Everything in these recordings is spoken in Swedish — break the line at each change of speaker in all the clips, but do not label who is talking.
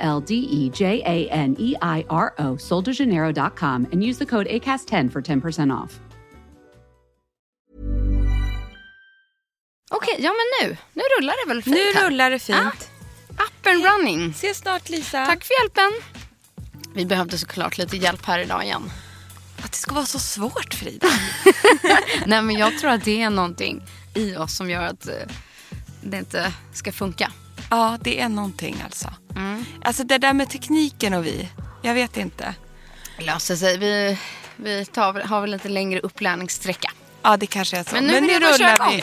L D E J A N E I R O, soldejaneiro.com, and use the code ACAST10 for 10% off.
Okej, ja men nu. Nu rullar det väl fint
Nu
här?
rullar det fint.
Ah, up and running.
Ses snart Lisa.
Tack för hjälpen. Vi behövde såklart lite hjälp här idag igen.
Att det ska vara så svårt Frida.
Nej men jag tror att det är någonting i oss som gör att eh, det inte ska funka.
ja, det är någonting alltså. Alltså det där med tekniken och vi. Jag vet inte.
Det löser sig. Vi, vi tar, väl- har väl lite längre upplärningssträcka.
Ja, det kanske är så.
Men nu vill jag bara köra igång.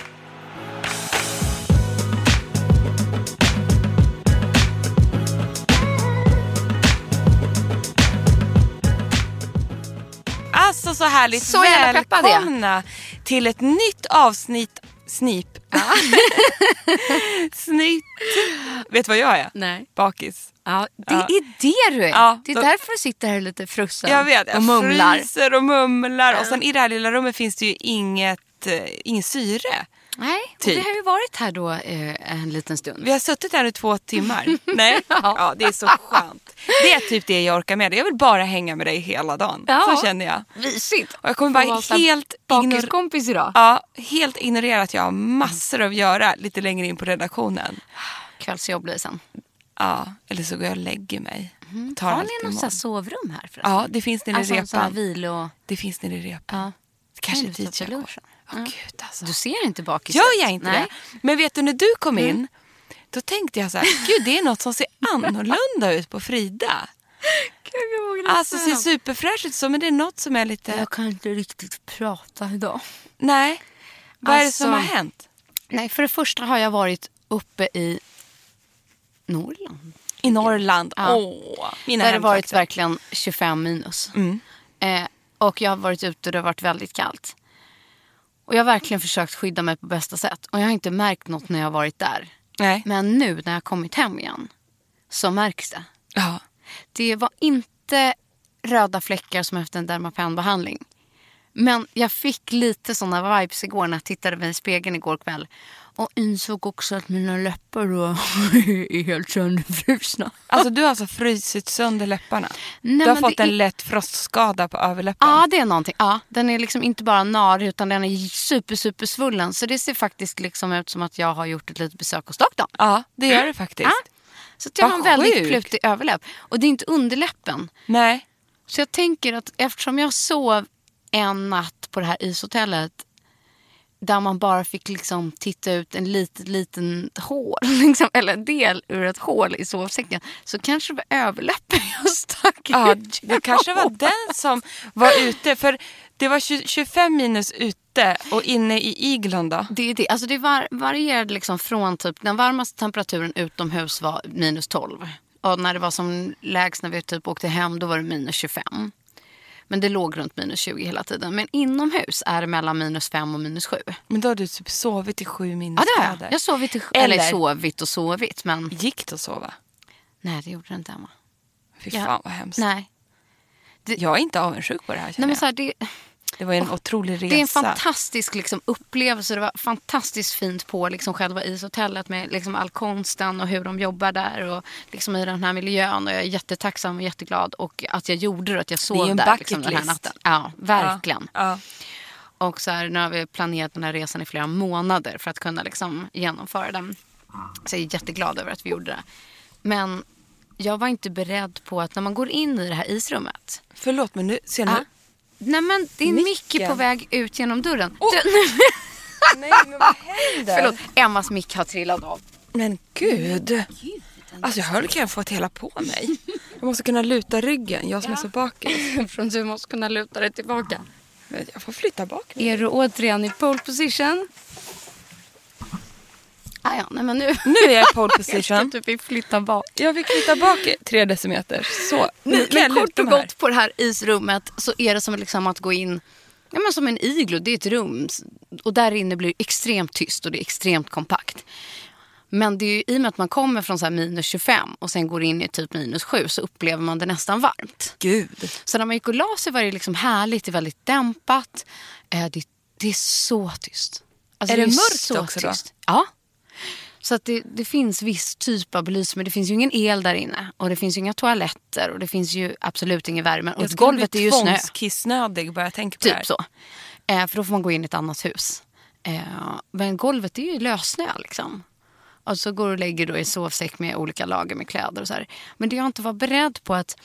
Alltså så härligt.
Så jävla peppad jag är.
Välkomna till ett nytt avsnitt. Snip. Snip. Vet du vad jag är?
Nej.
Bakis.
Ja, det
Ja.
är det du är.
Ja,
det är
då-
därför du sitter här lite frusen
Jag vet,
och
jag
mumlar.
fryser och mumlar. Och sen i det här lilla rummet finns det ju inget, eh, ingen syre.
Nej, och
Typ.
vi har ju varit här då eh, en liten stund.
Vi har suttit här i två timmar. Nej,
Ja.
ja, det är så skönt. Det är typ det jag orkar med. Jag vill bara hänga med dig hela dagen.
Ja.
Så känner jag.
Mysigt.
Och jag kommer
Få
vara
vara
helt, ignor-
Bakiskompis idag.
ja, helt ignorera att jag har massor att göra lite längre in på redaktionen.
Kvällsjobb blir sen.
Ja, eller så går jag och lägger mig. och Tar
Mm. Har
allt
ni något
imorgon.
sånt här sovrum här förresten?
Ja, det finns nere
Alltså
i
en sån här
repan.
vilo...
Det finns nere i repan.
Ja.
Det kanske är
Kan du ta
dit jag går.
lunchen?
Åh, gud alltså.
Du ser inte bakis
Gör
ut.
jag inte
Nej. Mm.
det? Men vet du, när du kom in, då tänkte jag så här, gud det är något som ser annorlunda ut på Frida. Alltså ser superfräsch ut så, men det är något som är lite,
Jag kan inte riktigt prata idag.
nej. Vad är det
Alltså-
som har hänt?
Nej, för det första har jag varit uppe i Norrland.
I Norrland,
Ja.
åh. Mina
där det varit
hemtrakter. Mm.
verkligen 25 minus. Eh, och jag har varit ute och det har varit väldigt kallt. Och jag har verkligen försökt skydda mig på bästa sätt. Och jag har inte märkt något när jag har varit där.
Nej.
Men nu när jag har kommit hem igen så märks det.
Ja.
Det var inte röda fläckar som efter en Dermapen-behandling. Men jag fick lite såna vibes igår när jag tittade mig i spegeln igår kväll. Och insåg också att mina läppar då är helt sönderfrusna.
Alltså du har alltså frusit sönder läpparna.
Nej,
du har
men
fått
det
en
är-
lätt frostskada på överläppen.
Ja, det är någonting. Ja, den är liksom inte bara narig utan den är super, super svullen. Så det ser faktiskt liksom ut som att jag har gjort ett litet besök hos doktorn.
Ja, det gör det faktiskt.
Ja. Så att jag
Vad
har en väldigt
sjukt.
plutig överläpp. Och det är inte underläppen.
Nej.
Så jag tänker att eftersom jag sov en natt på det här ishotellet där man bara fick liksom titta ut en liten, liten hår, liksom, eller en del ur ett hål i sovsäcken så kanske det var överläppen jag stack
Ja,
ut.
det kanske var den som var ute. För det var 20, 25 minus ute och inne i iglan då.
Det, är det. Alltså det var, varierade liksom från typ, den varmaste temperaturen utomhus var minus 12. Och när det var som lägst när vi typ åkte hem då var det minus 25. Men det låg runt minus 20 hela tiden. Men inomhus är det mellan minus 5 och minus 7.
Men då har du typ sovit i sju
Ja, det
minusgrader.
har jag. Jag sovit i,
Eller-
eller... sovit och sovit, men
Gick det att sova?
nej, det gjorde det inte, Emma.
Fy
Ja.
fan vad hemskt.
Nej.
Jag är inte avundsjuk på det här
nej
känner
men så här, det,
jag. Det var ju en otrolig resa.
det är en fantastisk liksom, upplevelse. Det var fantastiskt fint på liksom, själva ishotellet med liksom, all konsten och hur de jobbar där och liksom, i den här miljön. Och jag är jättetacksam och jätteglad och att jag gjorde det, att jag
Det är
sov
ju en
där liksom, den
bucket
här
list.
natten. Ja, verkligen.
Ja.
Och så här, nu har vi planerat den här resan i flera månader för att kunna liksom genomföra den. Så jag är jätteglad över att vi gjorde det. Men jag var inte beredd på att när man går in i det här isrummet.
Förlåt men nu, ser ni?
Ja. Nej men din
Micken.
mick på väg ut genom dörren.
Åh!
Du,
Nej men vad händer?
förlåt, Emmas mick har trillat av.
Men gud. Alltså jag höll kan jag få ett hela på mig. Jag måste kunna luta ryggen, jag som är så bakis.
Från du måste kunna luta dig tillbaka.
Men Jag får flytta bak mig.
Är du återigen i pole position? Ah, ja, nej men nu.
Nu är jag i pole
Jag ska
position.
typ vi flyttar bak.
Jag fick flytta bak tre decimeter. Så, nu
Nej,
kan jag
men kort
luta
och
mig här.
gott på det här isrummet så är det som liksom att gå in ja, men som en iglo. Det är ett rum och där inne blir det extremt tyst och det är extremt kompakt. Men det är ju, i och med att man kommer från så här minus 25 och sen går in i typ minus 7 så upplever man det nästan varmt.
Gud.
Så när man gick och la sig var det liksom härligt, det är väldigt dämpat. Eh, det, det är så tyst. Alltså,
Är det
ju
mörkt också då?
Ja. Så att det, det finns viss typ av belysning, men det finns ju ingen el där inne. Och det finns ju inga toaletter och det finns ju absolut ingen värme. Och
Jag skulle
golvet är
bli
ju snö.
tvångskissnödig bara jag tänker på det här.
Typ så. Eh, för då får man gå in i ett annat hus. Eh, men golvet är ju lössnö liksom. Och så går du och lägger då i sovsäck med olika lager med kläder och så här. Men det jag inte var beredd på att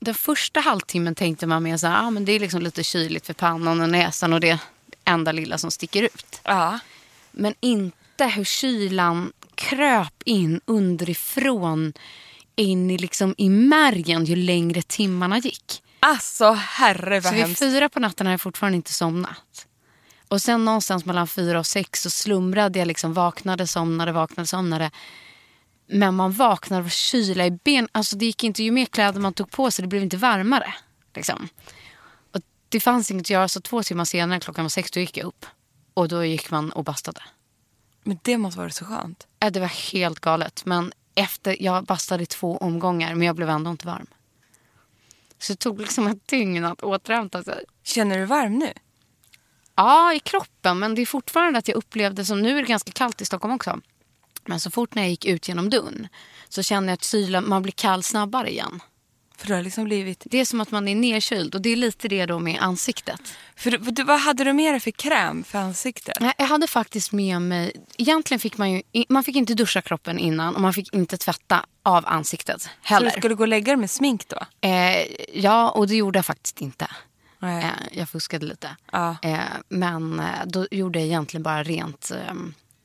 den första halvtimmen tänkte man mer så här, ah, men det är liksom lite kyligt för pannan och näsan och det enda lilla som sticker ut.
Ja.
Men inte hur kylan kröp in underifrån in i, liksom, i märgen ju längre timmarna gick.
Alltså herre vad
Så vid
hemskt.
fyra på natten har jag fortfarande inte somnat. Och sen någonstans mellan fyra och sex så slumrade jag liksom, vaknade, somnade, vaknade, somnade. Men man vaknar av kyla i ben. Alltså det gick inte, ju mer kläder man tog på sig det blev inte varmare. Liksom. Och det fanns inget att göra så två timmar senare klockan var sex då gick jag upp. Och då gick man och bastade.
Men det måste vara så skönt.
Äh, Det var helt galet. Men efter, jag bastade i två omgångar men jag blev ändå inte varm. Så det tog liksom ett dygn att återhämta sig.
Känner du varm nu?
Ja, i kroppen. Men det är fortfarande att jag upplevde som nu är det ganska kallt i Stockholm också. Men så fort när jag gick ut genom dörren så kände jag att kylan, man blir kall snabbare igen.
För du har liksom blivit...
Det är som att man är nedkyld och det är lite det då med ansiktet.
För, du- du, vad hade du med dig för kräm för ansiktet?
Nej, Jag hade faktiskt med mig, egentligen fick man ju, man fick inte duscha kroppen innan och man fick inte tvätta av ansiktet
Så
heller.
du skulle gå och lägga dig med smink då?
Eh, ja, och det gjorde jag faktiskt inte.
Nej.
Eh, jag fuskade lite.
Ja.
Eh, men eh, då gjorde jag egentligen bara rent eh,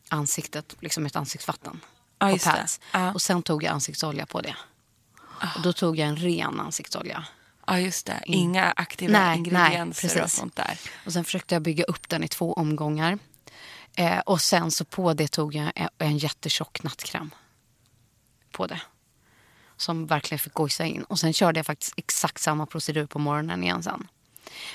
ansiktet, liksom ett ansiktsvatten.
Ja,
på
just det.
pads.
Ja. Ah.
Och sen tog jag ansiktsolja på det. Och då tog jag en ren ansiktsolja.
Ja just det, inga aktiva
Mm. Nej, nej,
ingredienser och
precis.
sånt där.
Och sen försökte jag bygga upp den i två omgångar. Eh, och sen så på det tog jag en, en jättetjock nattkräm. På det. Som verkligen fick gojsa in. Och sen körde jag faktiskt exakt samma procedur på morgonen igen sen.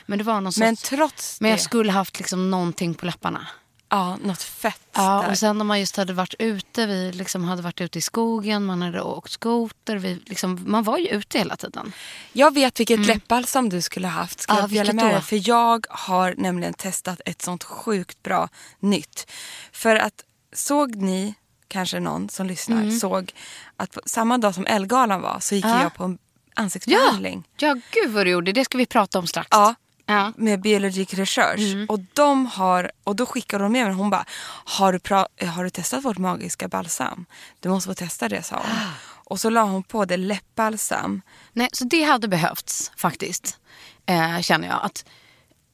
Men det var någon
Men
sorts...
trots
Men jag
det,
skulle haft liksom någonting på läpparna.
ja, något fett
Ja,
där.
och sen när man just hade varit ute, vi liksom hade varit ute i skogen, man hade åkt skoter, vi liksom, man var ju ute hela tiden.
Jag vet vilket läppbalsam du skulle ha haft. Ska
Mm. Ja,
jag dela
vilket
med
då?
dig? För jag har nämligen testat ett sånt sjukt bra nytt. För att såg ni, kanske någon som lyssnar,
Mm.
såg att på, samma dag som Ellegalan var så gick jag på en ansiktsbehandling.
ja, gud vad du gjorde, det ska vi prata om strax.
Ja.
Ja. Mm.
med Biologic Research. Och, de har, och då skickade hon med mig. Hon bara, har du, pra- har du testat vårt magiska balsam? Du måste få testa det, sa hon. Och så la hon på det läppbalsam.
Nej, så det hade behövts faktiskt, eh, känner jag. Att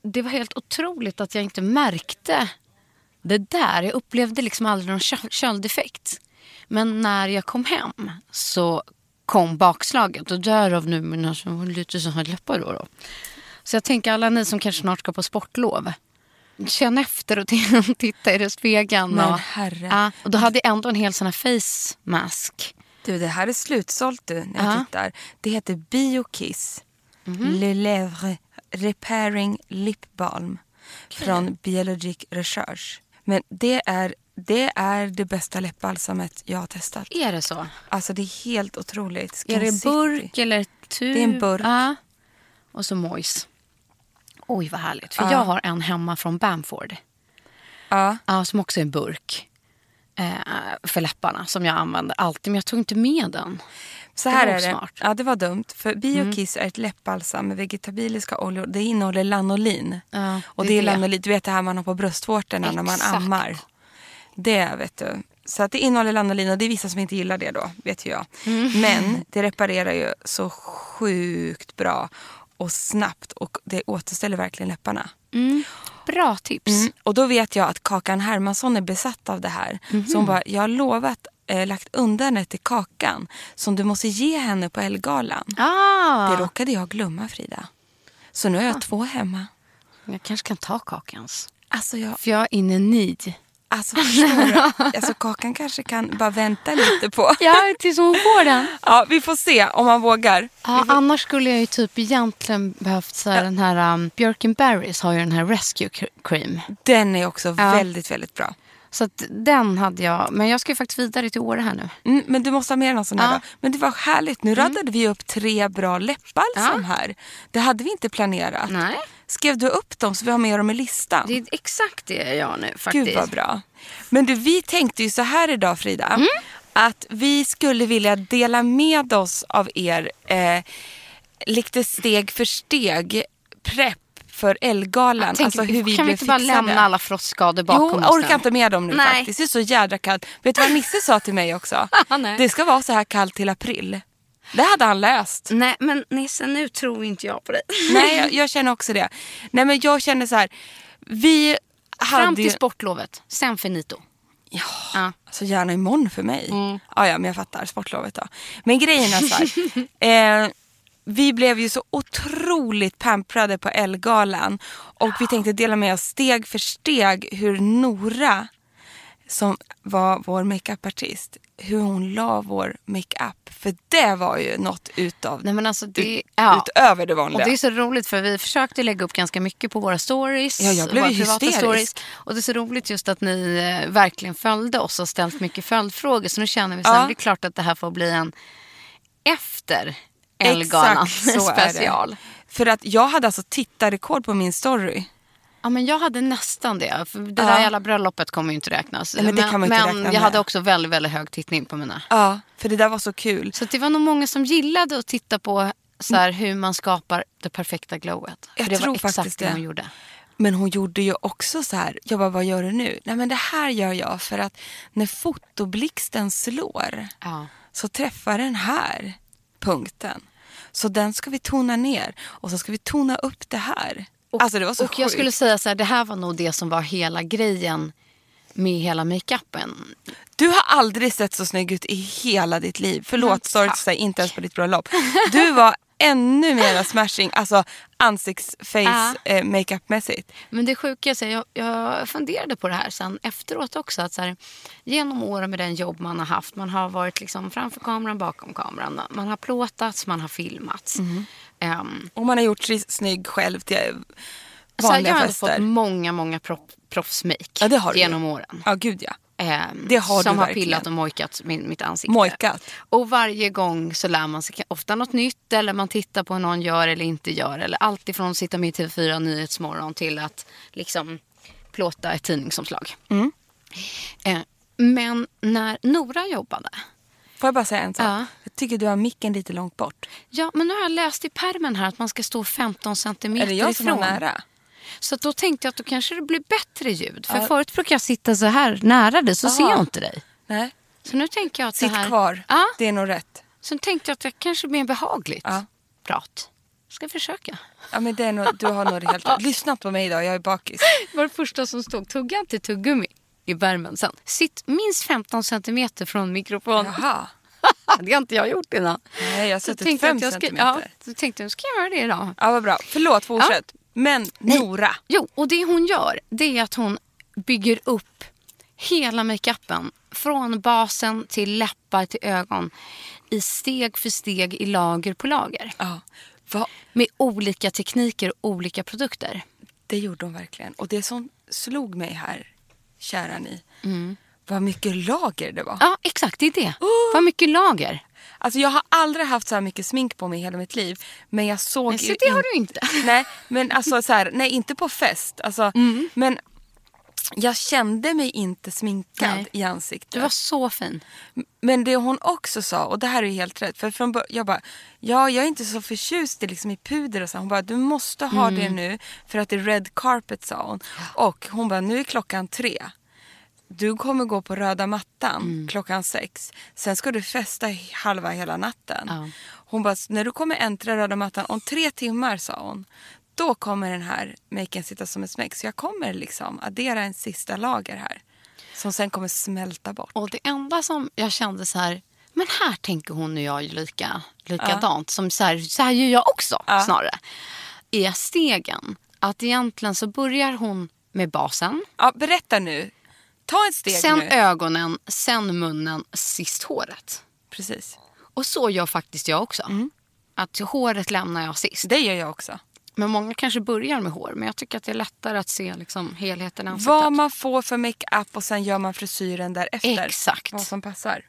det var helt otroligt att jag inte märkte det där. Jag upplevde liksom aldrig någon kö- köldeffekt. Men när jag kom hem så kom bakslaget och därav nu mina som- lite så här läppar då, då. Så jag tänker alla ni som kanske snart ska på sportlov. Känn efter och t- titta i spegeln.
Men
och,
herre.
Ja, och då hade jag ändå en hel sån här face mask.
Du, det här är slutsålt du, när jag
Ja. Mhm.
tittar. Det heter Biokiss. Le Lèvre Repairing Lip Balm. Från Biologic Research. Men det är, det är det bästa läppbalsamet jag har testat.
Är det så?
Alltså det är helt otroligt. Skin
Är det en
City.
burk eller tub?
Det är en burk.
Ja. Och så mojs. Oj, vad härligt. För
Ja.
jag har en hemma från Bamford.
Ja.
Ja, som också är en burk. Eh, för läpparna som jag använder alltid. Men jag tog inte med den.
Så
Det
här
var Mm.
är det.
osmart.
Ja, det var dumt. För Biokiss är ett läppbalsam med vegetabiliska oljor. Det innehåller lanolin.
Ja,
och
det
det är
är det.
lanolin, du vet det här man har på bröstvårtorna när man
Exakt.
ammar. Det vet du. Så att det innehåller lanolin och det är vissa som inte gillar det då, vet ju jag.
Mm.
Men det reparerar ju så sjukt bra och snabbt och det återställer verkligen läpparna.
Bra tips.
Mm. Och då vet jag att Kakan Hermansson är besatt av det här. Så hon bara, jag har lovat, eh, lagt undan det till Kakan som du måste ge henne på Ellegalan.
Ah,
Det råkade jag glömma Frida. Så nu har jag två hemma.
jag kanske kan ta kakans.
Alltså jag,
För jag är inne i need
Alltså förstår du? Alltså, kakan kanske kan bara vänta lite på.
Ja, tills hon får den.
Ja, vi får se om han vågar.
Ja, Ah, annars skulle jag ju typ egentligen behövt så här, den här um, Björken Berries har ju den här Rescue cr- Cream.
Den är också väldigt, väldigt bra.
Så att den hade jag. Men jag ska ju faktiskt vidare till Åre här nu.
Mm, men du måste ha med dig någon sån här
Ja. Mm.
då. Men det var härligt. Nu radade vi upp tre bra läppbalsam här. Det hade vi inte planerat.
Nej.
Skrev du upp dem så vi har med dem i listan?
Det är exakt det jag gör nu faktiskt.
Gud vad bra. Men du, vi tänkte ju så här idag Frida.
Mm.
Att vi skulle vilja dela med oss av er eh, lite steg för steg prepp för Ellegalan.
Jag tänker, kan vi
blev
inte bara
fixade.
lämna alla frostskador bakom
Jo,
oss
jag orkar
nu?
inte med dem nu
Nej.
faktiskt. Det är så jädra kallt. Vet du vad Nisse sa till mig också?
Nej.
det ska vara så här kallt till april. Det hade han läst.
Nej, men Nisse, nu tror inte jag på dig.
Nej, jag, jag känner också det. Nej, men jag känner så här. Vi hade
Fram till
ju...
sportlovet, sen finito.
Ja,
Ja.
alltså gärna imorgon för mig.
Mm.
Ja, ja, men jag fattar. Sportlovet då. Men grejen är så här. eh, vi blev ju så otroligt pamprade på Ellegalan och vi tänkte dela med oss steg för steg hur Nora, som var vår makeupartist, hur hon la vår makeup. För det var ju något utav,
Nej, men alltså, det,
ut,
ja.
utöver det
Och
vanliga.
det är så roligt för vi försökte lägga upp ganska mycket på våra stories.
Ja, jag blev
våra
ju
privata
hysterisk.
Och det är så roligt just att ni eh, verkligen följde oss och ställt mycket följdfrågor. Så nu känner vi så här,
Ja.
det är klart att det här får bli en efter Ellegalan
så är det.
special.
För att jag hade alltså tittarrekord på min story.
Ja, men jag hade nästan det. För det
Ja.
där jävla bröllopet kommer ju inte räknas.
Nej, men det kan man ju inte
men
räkna
jag
med.
hade också väldigt, väldigt hög tittning på mina.
Ja, för det där var så kul.
Så att det var nog många som gillade att titta på så här, hur man skapar det perfekta glowet.
Jag
för det
tror
var exakt
faktiskt
det
det.
hon gjorde.
Men hon gjorde ju också så här, jag bara, vad gör du nu? Nej men det här gör jag för att när fotoblixten slår
Ja.
så träffar den här punkten. Så den ska vi tona ner och så ska vi tona upp det här. alltså det var så
och jag skulle säga så här, det här var nog det som var hela grejen med hela makeupen.
Du har aldrig sett så snygg ut i hela ditt liv.
Men
Förlåt, sorry att
tack.
säga, inte ens på ditt bröllop. Du var ännu mera smashing, alltså ansiktsface eh, makeupmässigt.
Men det sjuka, är så här, jag, jag funderade på det här sen efteråt också. Att så här, genom åren med den jobb man har haft, man har varit liksom framför kameran, bakom kameran. Man har plåtats, man har filmats.
Mm.
Ehm,
Och man har gjort sig snygg själv till
så här, jag
vanliga
har ändå fått
fester.
många, många proff, proffsmake
Ja, det har du ju.
genom åren.
Ja, gud ja.
Ehm,
Det har du
som har
verkligen.
pillat och mojkat min, mitt ansikte.
Mojkat.
Och varje gång så lär man sig ka- ofta något nytt eller man tittar på hur någon gör eller inte gör. Eller allt ifrån att sitta med i TV4 Nyhetsmorgon till att liksom plåta ett tidningsomslag.
Mm.
Eh, men när Nora jobbade.
Får jag bara säga en sak?
Ja.
Jag tycker du har micken lite långt bort.
Ja, men nu har jag läst i pärmen här att man ska stå 15 centimeter
Är det jag
ifrån.
som är nära?
Så att då tänkte jag att då kanske det blir bättre ljud. För
Ja.
förut brukade jag sitta så här nära dig så
Aha.
ser jag inte dig.
Nej.
Så nu tänker jag att
Sitt
det här...
kvar.
Ja,
Det är nog rätt.
så tänkte jag att det kanske blir behagligt
Ja.
prat. Ska försöka.
Ja, men det är nog, du har nog helt rätt. Lyssna inte på mig idag, jag är bakis.
Det var det första som stod. Tugga inte tuggummi i värmen sen. Sitt minst 15 centimeter från mikrofonen.
Jaha.
Det har inte jag gjort innan.
Nej, jag har
Så
suttit
tänkte jag
fem
att jag ska,
centimeter. Ja.
Ja, så tänkte jag, ska jag göra det idag?
vad bra. Förlåt, fortsätt. Men Nora.
Jo, och det hon gör det är att hon bygger upp hela makeupen. Från basen till läppar till ögon. I steg för steg, i lager på lager.
Ja. Va?
Med olika tekniker och olika produkter.
Det gjorde hon verkligen. Och det som slog mig här, kära ni,
Mm.
vad mycket lager det var.
Ja, exakt. Det är det. Vad mycket lager.
Alltså jag har aldrig haft så här mycket smink på mig i hela mitt liv. Men jag såg
Men
ju
så det har
in-
du inte.
Nej, men alltså så här, nej inte på fest. Alltså,
Mm.
Men jag kände mig inte sminkad
Nej.
i ansiktet.
Du var så fin.
Men det hon också sa, och det här är ju helt rätt. För från bör- jag bara, ja jag är inte så förtjust i, liksom, i puder och så. Hon bara, du måste ha det nu för att det är red carpet sa hon. Och hon bara, nu är klockan tre. Du kommer gå på röda mattan klockan sex. Sen ska du festa i- halva hela natten.
Ja.
Hon bara, när du kommer äntra röda mattan om tre timmar sa hon. Då kommer den här maken sitta som en smäck. Så jag kommer liksom addera en sista lager här. Som sen kommer smälta bort.
Och det enda som jag kände så här, men här tänker hon och jag ju lika, likadant. Som så, här, så här gör jag också
Ja.
snarare. Är stegen. Att egentligen så börjar hon med basen.
Ja, berätta nu. Ta ett steg
Sen
nu.
ögonen, sen munnen, sist håret.
Precis.
Och så gör faktiskt jag också. Att håret lämnar jag sist.
Det gör jag också.
Men många kanske börjar med hår. Men jag tycker att det är lättare att se liksom, helheten i ansiktet.
Vad man får för makeup och sen gör man frisyren därefter.
Exakt.
Vad som passar.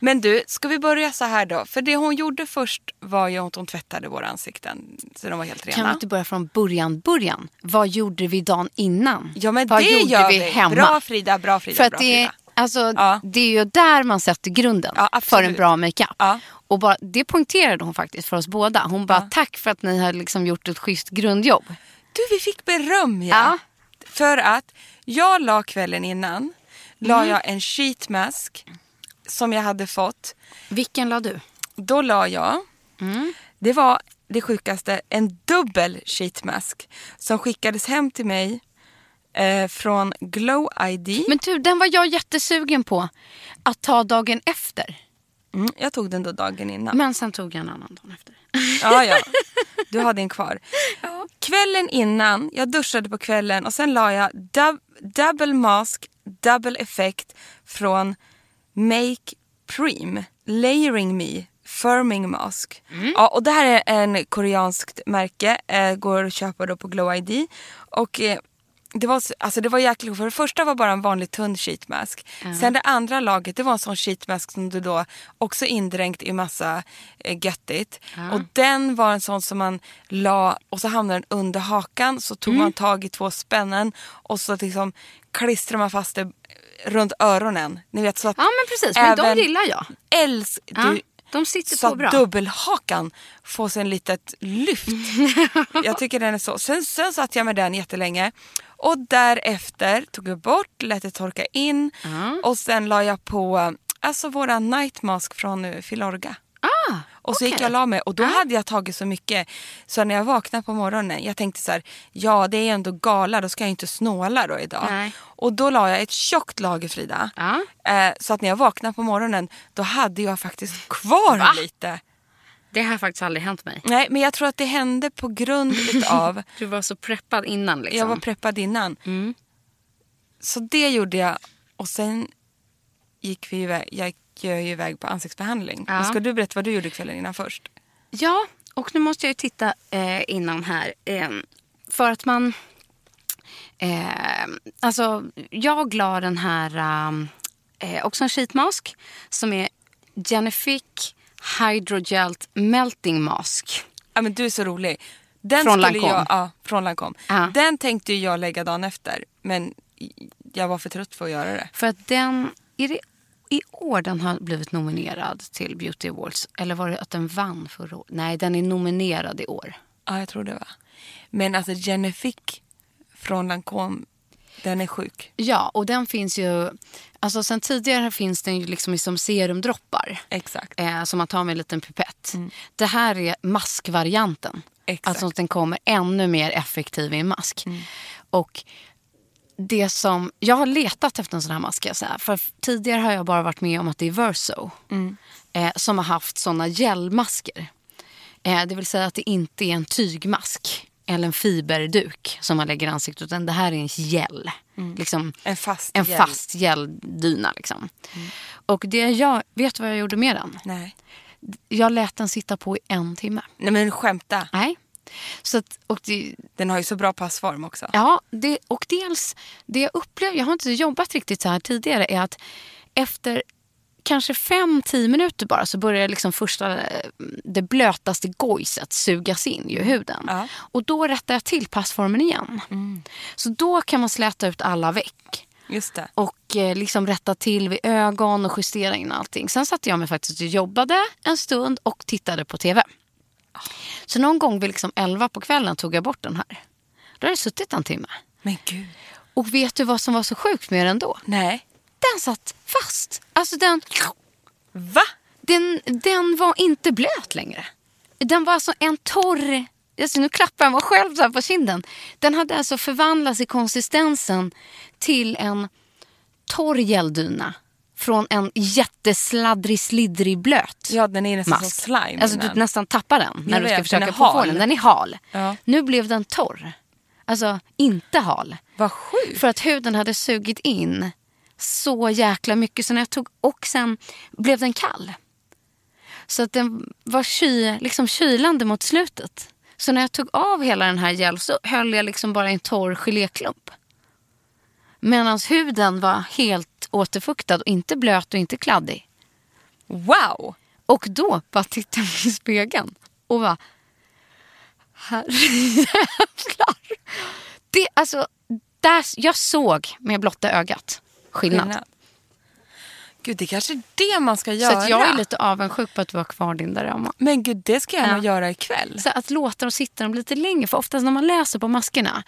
Men du, ska vi börja så här då? För det hon gjorde först var ju att hon tvättade våra ansikten så de var helt
Kan vi
rena.
inte börja från början, början? Vad gjorde vi dagen innan?
Ja men
Vad
det
gjorde
gör vi.
hemma?
Bra Frida, bra Frida,
för att
bra
det, är-
Frida.
alltså,
Ja.
det är ju där man sätter grunden
Ja,
för
absolut.
en bra makeup.
Ja.
Och bara, det poängterade hon faktiskt för oss båda. Hon bara, tack för att ni har liksom gjort ett schysst grundjobb.
Du, vi fick beröm ja.
Ja.
För att jag la kvällen innan, la
Mm.
jag en sheetmask som jag hade fått.
Vilken la du?
Då la jag, det var det sjukaste, en dubbel sheetmask som skickades hem till mig eh, från Glow ID.
Men du, den var jag jättesugen på att ta dagen efter.
Mm, jag tog den då dagen innan.
Men sen tog jag en annan dag efter.
Ja, ja. Du har din kvar. Kvällen innan, jag duschade på kvällen och sen la jag dub- double mask, double effect från Make Prime, Layering Me, Firming Mask. Ja, och det här är en koreanskt märke, eh, går att köpa då på Glow ID. Och eh, det var, så- alltså det var jäkligt För det första var bara en vanlig tunn sheetmask. Sen det andra laget, det var en sån sheetmask som du då också indränkt i massa eh, göttigt. Och den var en sån som man la och så hamnade den under hakan. Så tog
Mm.
man tag i två spännen och så liksom klistrade man fast det eh, runt öronen. Ni vet så att
Ja, men precis. Men de gillar jag.
Äls,
Ja,
du,
de sitter
så
på
att
bra.
dubbelhakan får sig en litet lyft. jag tycker den är så. Sen, sen satt jag med den jättelänge. Och därefter tog jag bort, lät det torka in och sen la jag på alltså våra night mask från eh, Filorga.
Ah,
Och så gick
okej.
jag och la mig och då hade jag tagit så mycket så när jag vaknade på morgonen, jag tänkte så här, ja det är ändå gala, då ska jag inte snåla då idag.
Nej.
Och då la jag ett tjockt lager Frida.
Ja.
Eh, så att när jag vaknade på morgonen då hade jag faktiskt kvar
Va?
lite.
Det har faktiskt aldrig hänt mig.
Nej men jag tror att det hände på grund utav,
Du var så preppad innan. Liksom. Mm.
jag var preppad innan. Så det gjorde jag och sen gick vi iväg, jag gick ju iväg på ansiktsbehandling.
Ja.
Men Ska du berätta vad du gjorde kvällen innan först?
Ja, och nu måste jag ju titta eh, innan här. Eh, för att man... Eh, alltså, jag la den här... Eh, också en sheetmask som är Genifique Hydrogelt Melting Mask.
Ja, men du är så rolig. Den
Från
skulle
Lancôme.
Jag, ja, från Lancôme.
Ja.
Den tänkte ju jag lägga dagen efter, men i- jag var för trött för att göra det.
För att den... Är det i år den har blivit nominerad till Beauty Awards? Eller var det att den vann förra året? Nej, den är nominerad i år.
Ja, jag tror det var. Men alltså Jennifique från Lancôme, den är sjuk.
Ja, och den finns ju... Alltså sen tidigare finns den ju liksom i som serumdroppar.
Exakt.
Eh, som man tar med en liten pipett. Det här är maskvarianten.
Mm. Exakt. Mm.
Alltså att den kommer ännu mer effektiv i en mask. Och det som, jag har letat efter en sån här mask. Kan jag säga. För tidigare har jag bara varit med om att det är Verso
Mm.
eh, som har haft såna gelmasker. Eh, det vill säga att det inte är en tygmask eller en fiberduk som man lägger i ansiktet. Utan det här är en gel. Liksom,
Mm. En fast Mm.
en
gel.
fast geldyna. Liksom. Och det jag, vet du vad jag gjorde med den?
Nej.
Jag lät den sitta på i en timme.
Nej men skämta.
Nej. Så att, och det,
Den har ju så bra passform också.
ja, det, och dels, det jag upplevde, jag har inte jobbat riktigt så här tidigare, är att efter kanske 5-10 minuter bara så börjar liksom första, eh, det blötaste gojset sugas in i huden.
Ja.
Och då rättar jag till passformen igen. Så då kan man släta ut alla veck
Just det.
och eh, liksom rätta till vid ögon och justera in allting. Sen satte jag mig faktiskt och jobbade en stund och tittade på tv. Så någon gång vid liksom 11 på kvällen tog jag bort den här. Då hade jag suttit en timme.
Men gud.
Och vet du vad som var så sjukt med den då?
Nej.
Den satt fast. Alltså den,
Va?
den, den var inte blöt längre. Den var alltså en torr... Alltså nu klappar jag mig själv så här på kinden. Den hade alltså förvandlats i konsistensen till en torr geldyna. Från en jättesladdrig, slidrig, blöt
Ja den är nästan som
mask.
slime
alltså du
innan.
nästan tappar den när
Jag
du
vet,
ska försöka
den är
få
hal.
den. Den är hal.
Ja.
Nu blev den torr. Alltså inte hal.
Vad sjukt.
För att huden hade sugit in så jäkla mycket. Så när jag tog och sen blev den kall. Så att den var ky, liksom kylande mot slutet. Så när jag tog av hela den här gel så höll jag liksom bara en torr geléklump. Medan huden var helt återfuktad och inte blöt och inte kladdig.
Wow!
Och då bara tittade jag i spegeln och bara... Herrejävlar! Det, alltså, där, jag såg med blotta ögat skillnad.
Skillnad. Gud, det är kanske är det man ska
Så
göra.
att jag är lite avundsjuk på att du har kvar din där hemma.
Men gud, det ska jag
Ja.
nog göra ikväll.
Så att låta dem sitta dem lite längre. För oftast när man läser på maskerna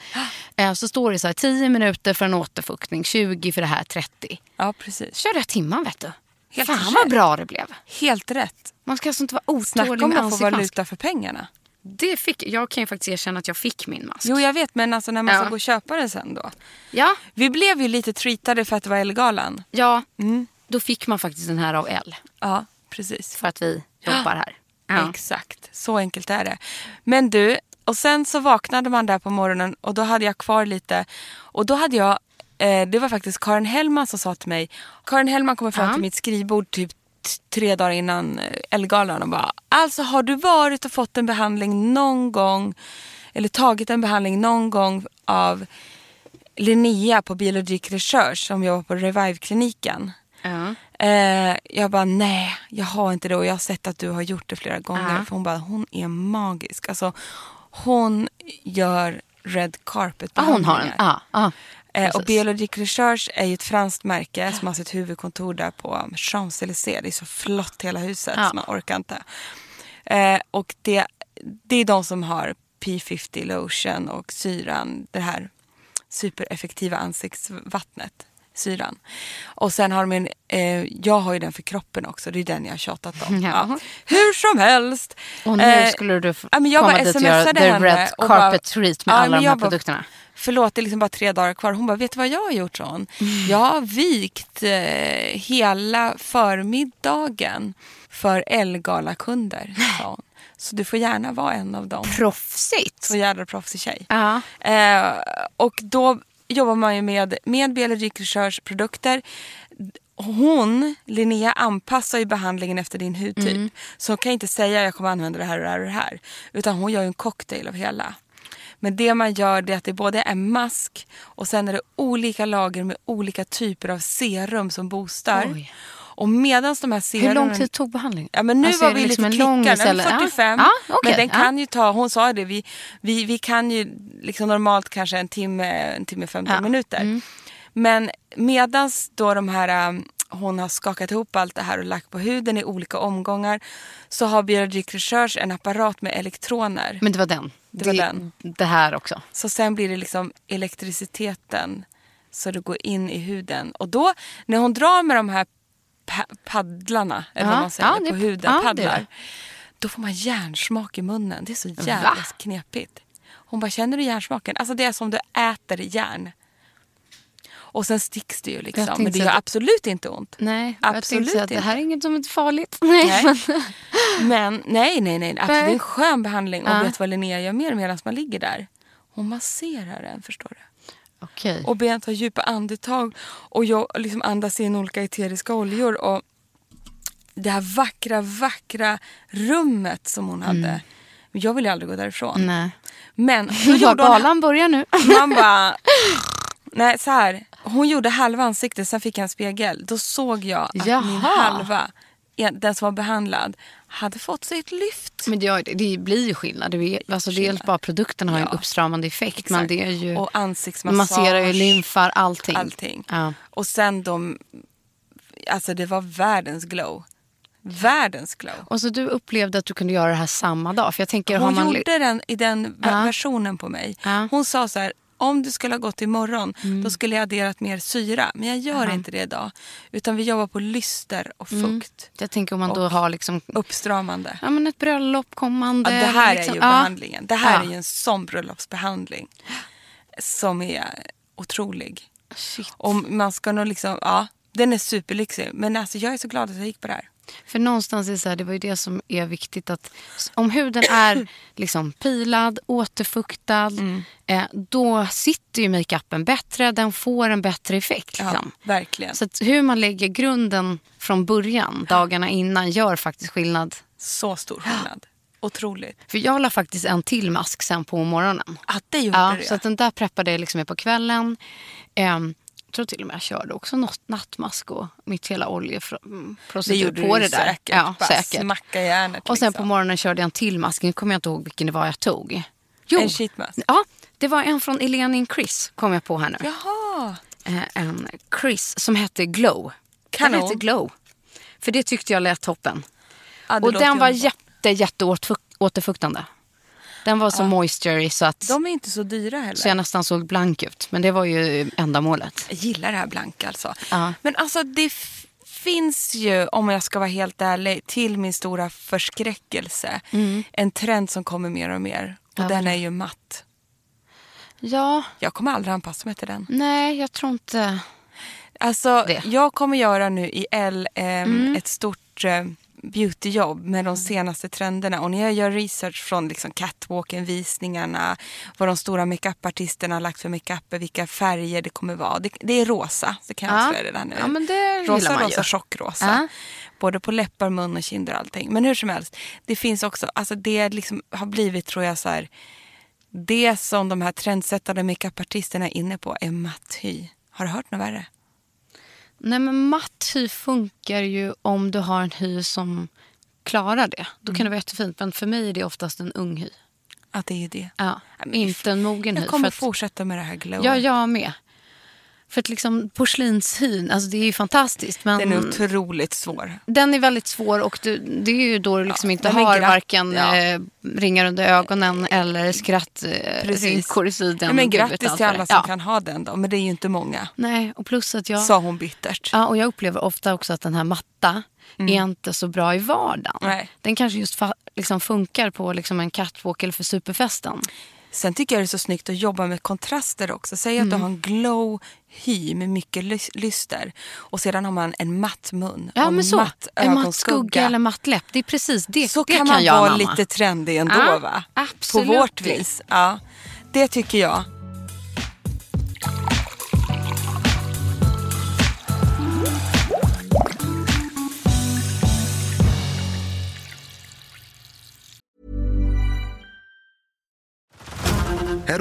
eh, så står det så här 10 minuter för en återfuktning, 20 för det här, 30.
Ja, precis.
Kör det här timman vet du.
Helt
Fan
försök.
vad bra det blev.
Helt rätt.
Man ska alltså inte vara
Snacka
otålig
om
med
att få
ansiktsmask.
valuta för pengarna.
Det fick, jag kan ju faktiskt erkänna att jag fick min mask.
Jo, jag vet, men alltså när man
Ja.
ska gå och köpa den sen då.
Ja,
Vi blev ju lite treatade för att det var Ellegalan.
ja
Mm.
då fick man faktiskt den här av L
Ja, precis.
för att vi jobbar här. Ja.
Exakt, så enkelt är det. Men du, och sen så vaknade man där på morgonen och då hade jag kvar lite. Och då hade jag, eh, det var faktiskt Karin Hellman som sa till mig. Karin Hellman kommer fram
Ja.
till mitt skrivbord typ t- tre dagar innan eh, Ellegalan och bara, alltså har du varit och fått en behandling någon gång, eller tagit en behandling någon gång av Linnea på Biologic Research som jobbar på Revive-kliniken?
Ja.
Eh, jag bara, nej, jag har inte det och jag har sett att du har gjort det flera gånger.
Ja.
För hon bara, hon är magisk. Alltså, hon gör red carpet
Ja, hon har en. Ja, ja.
Eh, och
precis.
Biologic Research är ju ett franskt märke som har sitt huvudkontor där på Champs-Élysées. Det är så flott hela huset
Ja.
så man orkar inte. Eh, och det, det är de som har P50 lotion och syran, det här supereffektiva ansiktsvattnet. Syran. Och sen har de en, eh, jag har ju den för kroppen också, det är den jag har tjatat om.
Ja.
Hur som helst.
Och nu
Eh,
skulle du få
ja, men jag
komma
bara
dit och göra
smsade
the
henne
red
och bara-
carpet treat med alla
men
de
jag
här
bara,
produkterna.
Förlåt, det är liksom bara tre dagar kvar. Hon bara, vet du vad jag har gjort? sa Hon? Jag har vikt eh, hela förmiddagen för Elgala-kunder. sa hon. Så du får gärna vara en av dem.
Proffsigt.
Så jävla proffsig tjej.
Ja.
Eh, och då jobbar man ju med, med Biologic Research produkter. Hon, Linnea, anpassar ju behandlingen efter din hudtyp.
Mm.
Så hon kan inte säga jag kommer använda det här och det här och det här. Utan hon gör ju en cocktail av hela. Men det man gör det är att det både är en mask och sen är det olika lager med olika typer av serum som boostar.
Oj.
Och medan de här serumen...
Hur lång tid tog behandlingen?
Ja, men nu
Alltså,
var
är det
vi
liksom
lite
en lång
klickar. Nu
istället?
är
Ja.
vi 45.
Ja, okej.
Men den
Ja.
kan ju ta, hon sa det, vi, vi, vi kan ju liksom normalt kanske en timme, en timme 15
Ja. Mm.
minuter. Men medans då de här, um, hon har skakat ihop allt det här och lagt på huden i olika omgångar så har Biologic Research en apparat med elektroner.
Men det var den.
Det var den.
Det här också.
Så sen blir det liksom elektriciteten så det går in i huden. Och då när hon drar med de här pa- paddlarna, eller vad
Ja,
man säger,
ja, det-
på huden,
ja, det är det.
paddlar. Då får man järnsmak i munnen. Det är så jävla
Va?
knepigt. Hon bara, känner du järnsmaken? Alltså det är som du äter järn. Och sen sticks det ju liksom.
tänkte
Men det
säga
gör
att-
absolut inte ont.
Nej, jag
Absolut
tänkte säga att det
inte.
här är inget som är farligt. Nej.
Nej.
men-
Men nej, nej, nej. Absolut, det är en skön behandling. Och
Ja.
vet du vad Linnea gör mer medan man ligger där? Hon masserar en, förstår du.
Okej.
och ber en ta djupa andetag och jag liksom andas in olika eteriska oljor. Och det här vackra, vackra rummet som hon hade. Men Jag ville ju aldrig gå därifrån.
Nej.
Men hon
Ja,
gjorde hon-
galan börjar nu.
man bara... Nej, så här. Hon gjorde halva ansiktet, sen fick jag en spegel. Då såg jag att min
Jaha.
halva, eh, den som var behandlad, hade fått sig ett lyft.
Men det, gör- det blir ju skillnad. Det är, alltså, dels bara produkten har ju en
Ja.
uppstramande effekt. Men
Exakt.
det är ju,
Och ansiktsmassage.
masserar ju lymfar, allting.
allting.
Ja.
Och sen de... Alltså det var världens glow. Världens glow.
Och så du upplevde att du kunde göra det här samma dag? För jag tänker, har
Hon
man...
gjorde den i den ve-
Ja.
versionen på mig.
Ja. Mm.
Hon sa så här, om du skulle ha gått imorgon då skulle jag adderat mer syra. Men jag gör inte det idag. Utan vi jobbar på lyster och
Mm.
fukt.
Jag tänker om man då
Och-
har liksom,
Uppstramande.
ja, men ett bröllop kommande.
Ja, det här
liksom,
är ju
ja.
behandlingen. Det här
Ja.
är ju en sån bröllopsbehandling. Som är otrolig.
Shit.
Och man ska nog liksom, ja, den är superlyxig. Men alltså jag är så glad att jag gick på det här.
För någonstans är det, så här, det var ju det som är viktigt. att Om huden är liksom pilad, återfuktad,
Mm.
eh, då sitter ju makeupen bättre. Den får en bättre effekt.
Ja,
Liksom.
verkligen.
Så att hur man lägger grunden från början, dagarna innan, gör faktiskt skillnad.
Så stor skillnad. Otroligt.
För jag la faktiskt en till mask sen på morgonen.
Att det gjorde
Ja,
det.
så att den där preppade jag liksom med på kvällen. Ehm, jag tror till och med jag körde också något nattmask och mitt hela
det
oljeprocedur
gjorde
på
du
det där.
säkert.
Ja,
Bara
säkert.
Smacka järnet.
Och sen
liksom.
på morgonen körde jag en till mask. Nu kommer jag inte ihåg vilken det var jag tog. Jo,
En sheetmask.
Ja, det var en från Elenin Chris kom jag på här nu.
Jaha.
Eh, En Chris som hette Glow. Den
Kanon.
hette Glow. För det tyckte jag lät toppen.
Ja, det
Och
låter
den var
underbart.
jätte, jätte återfuk- återfuktande. Den var så moistury så att
De är inte så dyra heller.
så jag nästan såg blank ut. Men det var ju ändamålet.
Jag gillar det här blanka alltså.
Ja.
Men alltså det f- finns ju, om jag ska vara helt ärlig, till min stora förskräckelse, en trend som kommer mer och mer. Och
Mm. Ja,
den är ju matt.
Ja,
Jag kommer aldrig anpassa mig till den.
nej jag tror inte.
Alltså,
Det. Mm.
jag kommer göra nu i L ehm, ett stort eh, beautyjobb med de senaste trenderna. Och när jag gör research från liksom catwalken, visningarna, vad de stora makeupartisterna har lagt för makeuper, vilka färger det kommer vara. Det, det är rosa, så kan jag
Ja.
avslöja redan nu.
Ja, men det gillar
rosa,
man ju.
rosa, tjockrosa.
Ja.
Både på läppar, mun och kinder och allting. Men hur som helst, det finns också, alltså det liksom har blivit tror jag så här, det som de här trendsättande makeupartisterna är inne på är matt hy. Har du hört något värre?
Nej men matt hy funkar ju om du har en hy som klarar det. Då kan det vara jättefint. Men för mig är det oftast en ung hy.
Att det är ju det.
Ja,
men
inte en mogen hy.
Jag
för
kommer
att-
fortsätta med det här glowet.
Ja, jag med. För att liksom porslinshyn, alltså det är ju fantastiskt. Men
Den är otroligt svår.
den är väldigt svår och du, det är ju då du liksom inte
den är
har
glatt,
varken
ja.
eh, ringar under ögonen eller skrattrynkor i sidan.
Nej, men
Gud vet
grattis
allt
till
vad det
alla
är.
som
ja.
kan ha den då. Men det är ju inte många,
Nej, och plus att jag...
sa hon bittert.
Ja, och jag upplever ofta också att den här matta är inte så bra i vardagen.
Mm. Nej.
Den kanske just fa- liksom funkar på liksom en catwalk eller för superfesten.
Sen tycker jag det är så snyggt att jobba med kontraster också. Säg
Mm.
att du har en glow hy med mycket lys- lyster och sedan har man en matt mun
Ja,
och
men så.
matt
en matt
ögonskugga.
skugga eller matt läpp. Det är precis det.
så
det
kan man
jag
vara
anamma.
lite trendig ändå
Ja,
va?
absolut.
På vårt vis. Ja, det tycker jag.
Head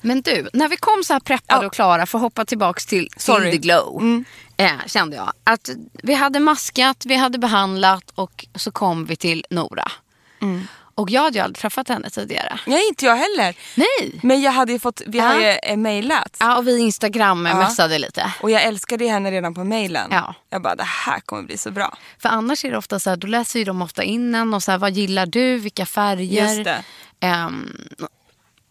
Men du, när vi kom så här preppade och klara, för att hoppa tillbaks till, till
Sorry. Mm.
the glow. Eh, kände jag. Att vi hade maskat, vi hade behandlat och så kom vi till Nora.
Mm.
Och jag hade ju aldrig träffat henne tidigare.
Nej, inte jag heller.
Nej.
Men jag hade ju fått, vi har
Ja.
ju eh, mejlat.
Ja, och vi instagram-messade lite.
Och jag älskade ju henne redan på mejlen.
Ja.
Jag bara, det här kommer bli så bra.
För annars är det ofta så här, då läser ju de ofta in en och så här, vad gillar du, vilka färger.
Just det.
Ehm,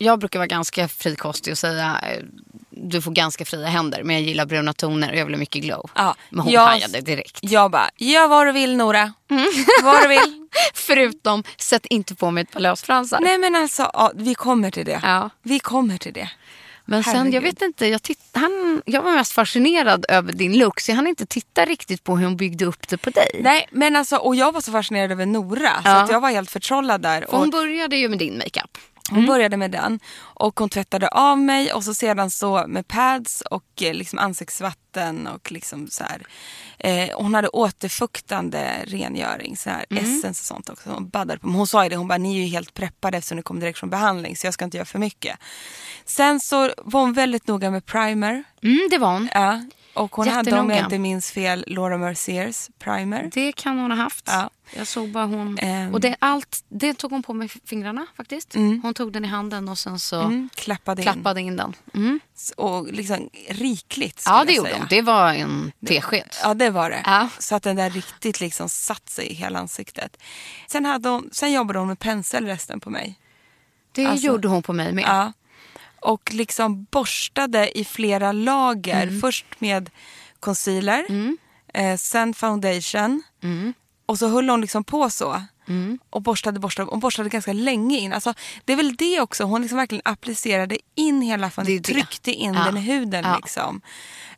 jag brukar vara ganska frikostig och säga, eh, du får ganska fria händer, men jag gillar bruna toner och jag vill ha mycket glow.
Ja,
Men hon
jag-
hajade direkt. Mm.
Jag bara, gör vad du vill Nora. Vad du vill.
Förutom, sätt inte på mig ett par lösfransar.
Nej men alltså, ja, vi kommer till det.
Ja.
Vi kommer till det.
Men sen, jag
herregud.
vet inte, jag, titt, han, jag var mest fascinerad över din look så jag hann inte titta riktigt på hur hon byggde upp det på dig.
Nej men alltså, och jag var så fascinerad över Nora så att jag var helt förtrollad där.
För hon
Och,
började ju med din makeup.
Hon började med den och hon tvättade av mig och så sedan så med pads och eh, liksom ansiktsvatten och liksom så här. Eh, hon hade återfuktande rengöring, så här
Mm.
essens och sånt också. Hon baddade på mig. Hon sa ju det, hon bara ni är ju helt preppade eftersom ni kom direkt från behandling så jag ska inte göra för mycket. Sen så var hon väldigt noga med primer.
Mm, det var hon.
Ja. Och hon hade om
Jättenoga.
jag inte minns fel Laura Merciers primer.
Det kan hon ha haft.
Ja.
Jag såg bara hon...
Ehm.
Och det, allt, det tog hon på med fingrarna faktiskt. Hon tog den i handen och sen så
Mm, klappade,
klappade in den. Mm.
in. Och liksom rikligt skulle
Ja, det
jag
gjorde
säga.
hon. Det var en tesked.
Ja, det var det.
Ja.
Så att den där riktigt liksom satt sig i hela ansiktet. Sen, hade hon, sen jobbade hon med pensel resten på mig.
Det
alltså-
gjorde hon på mig med.
Ja. Och liksom borstade i flera lager.
Mm.
Först med concealer, eh, sen foundation.
Mm.
Och så höll hon liksom på så. Och borstade, borstade, hon borstade ganska länge in. Alltså, det är väl det också, hon liksom verkligen applicerade in hela
Det är
foundationen.
det.
Tryckte in
Ja.
den i huden
Ja.
liksom.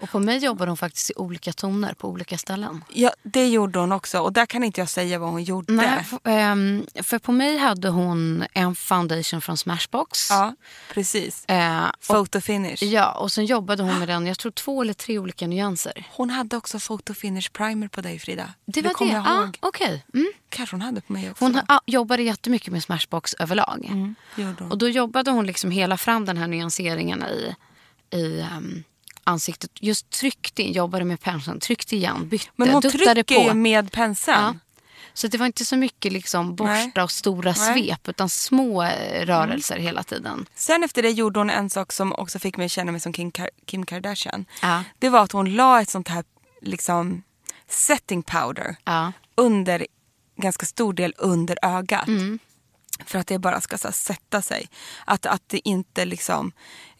Och på mig jobbade hon faktiskt i olika toner på olika ställen.
Ja, det gjorde hon också och där kan inte jag säga vad hon gjorde.
Nej, f- ehm, för på mig hade hon en foundation från Smashbox.
Ja, precis.
Eh, och,
Photo finish.
ja, och sen jobbade hon med den, jag tror två eller tre olika nyanser.
Hon hade också photo finish primer på dig Frida.
Det var
kommer
det.
jag
Ah,
ihåg.
okej. mm.
Kanske hon hade på mig också.
Hon ha- ah, jobbade jättemycket med Smashbox överlag.
Mm. Gjorde hon.
Och då jobbade hon liksom hela fram den här nyanseringen i, i ehm, ansiktet. Just tryckte in, jobbade med penseln, tryckte igen, bytte,
Men hon
duttade
trycker ju
på.
med penseln.
Så det var inte så mycket liksom borsta
Nej.
och stora
Nej.
svep utan små eh, rörelser hela tiden.
Sen efter det gjorde hon en sak som också fick mig känna mig som Kim, Kar- Kim Kardashian.
Ja.
Det var att hon la ett sånt här liksom, setting powder
Ja.
under, ganska stor del under ögat. För att det bara ska så här, sätta sig. Att, att det inte liksom,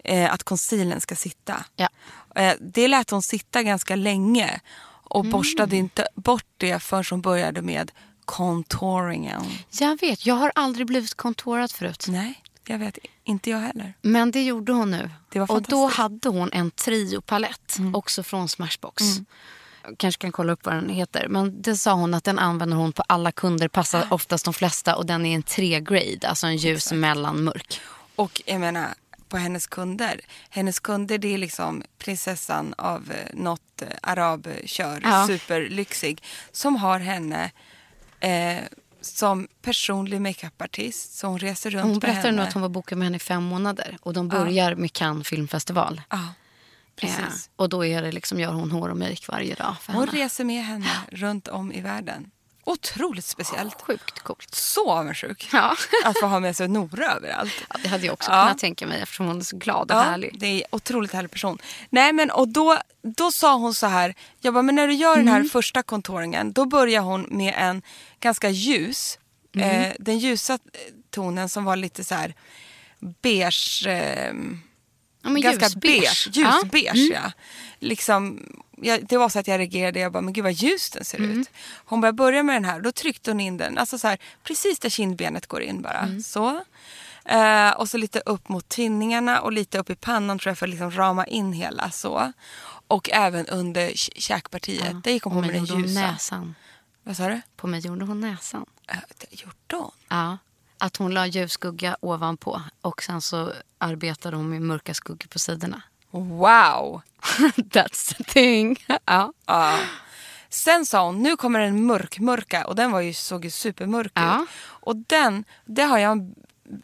eh, att concealern ska sitta.
Ja.
Eh, det lät hon sitta ganska länge. Och borstade inte bort det förrän hon började med contouringen.
Jag vet, jag har aldrig blivit kontorad förut.
Nej, jag vet inte jag heller.
Men det gjorde hon nu.
Det var
och då
fantastiskt. Mm.
hade hon en triopalett, också från Smashbox. Jag kanske kan kolla upp vad den heter. Men det sa hon att den använder hon på alla kunder, passar
Ah.
oftast de flesta. Och den är en tre-grade, alltså en ljus mellanmörk.
Och jag menar, på hennes kunder. Hennes kunder det är liksom prinsessan av eh, något eh, arabkör,
Ja.
superlyxig, som har henne eh, som personlig makeupartist. Så hon reser runt
Hon
med
berättade nu
henne.
att hon var bokad med henne i fem månader. Och de börjar med Cannes filmfestival.
Ja, Ah. precis.
Eh, och då är det liksom, gör hon hår och make varje dag för
Hon
henne.
reser med henne runt om i världen. Otroligt speciellt.
Sjukt coolt.
Så avundsjuk
Ja.
att få ha med sig Nora överallt.
Ja, det hade jag också
Ja.
kunnat tänka mig eftersom hon är så glad och härlig.
Det är en otroligt härlig person. Nej men och då, då sa hon så här. Jag bara, men när du gör den
Mm.
här första kontoringen då börjar hon med en ganska ljus.
Mm.
Eh, den ljusa eh, tonen som var lite så här beige. Eh,
Ja, men
ganska
ljusbeige. Mm.
beige. Ljusbeige, ja. Liksom, jag, det var så att jag reagerade. Jag bara, men gud vad ljus den ser
Mm.
ut. Hon bara, börja med den här. Då tryckte hon in den. Alltså så här, precis där kindbenet går in bara.
Mm.
Så. Eh, och så lite upp mot tinningarna och lite upp i pannan tror jag för att liksom rama in hela. så. Och även under k- käkpartiet.
Ja.
Där gick hon
Och
på med
mig
den
gjorde hon
ljusa.
Näsan.
Vad sa du?
På mig gjorde hon näsan.
Eh, det gjorde hon?
Ja. Att hon la ljusskugga ovanpå och sen så arbetade hon med mörka skuggor på sidorna.
Wow!
That's the thing. ja.
Ja. Sen sa hon, nu kommer en mörkmörka och den var ju, såg ju supermörk
Ja.
ut. Och den, det har jag en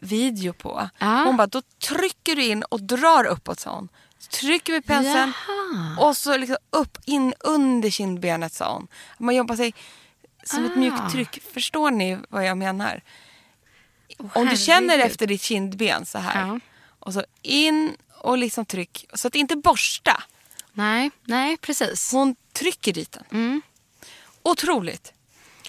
video på.
Ja.
Hon bara, då trycker du in och drar uppåt sa hon. Trycker med penseln och så liksom upp in under kindbenet sa hon. Man jobbar sig som ett
Ah.
mjukt tryck. Förstår ni vad jag menar? Om du känner
herregud.
efter ditt kindben så här.
Ja.
Och så in och liksom tryck. Så att inte borsta.
Nej, nej precis.
Hon trycker dit den.
Mm.
Otroligt.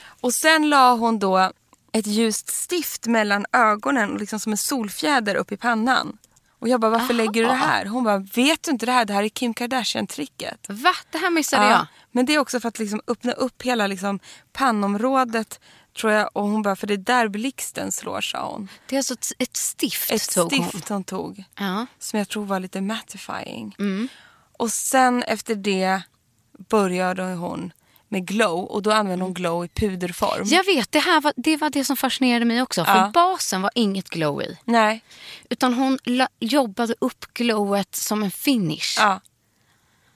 Och sen la hon då ett ljust stift mellan ögonen och liksom som en solfjäder upp i pannan. Och jag bara, varför lägger du det här? Hon bara, vet du inte det här? Det här är Kim Kardashian-tricket.
Va? Det här missade
Ja,
jag.
Men det är också för att liksom öppna upp hela liksom pannområdet tror jag. Och hon bara, för det är där blixten slår sa hon.
Det är alltså ett, ett stift
Ett
tog hon.
stift hon tog
Ja.
som jag tror var lite
Mm.
mattifying. Och sen efter det började hon med glow och då använder
Mm.
hon glow i puderform.
Jag vet, det här var det, var det som fascinerade mig också. För
Mm. Ja.
basen var inget glow i.
Nej.
Utan hon la, jobbade upp glowet som en finish.
Ja.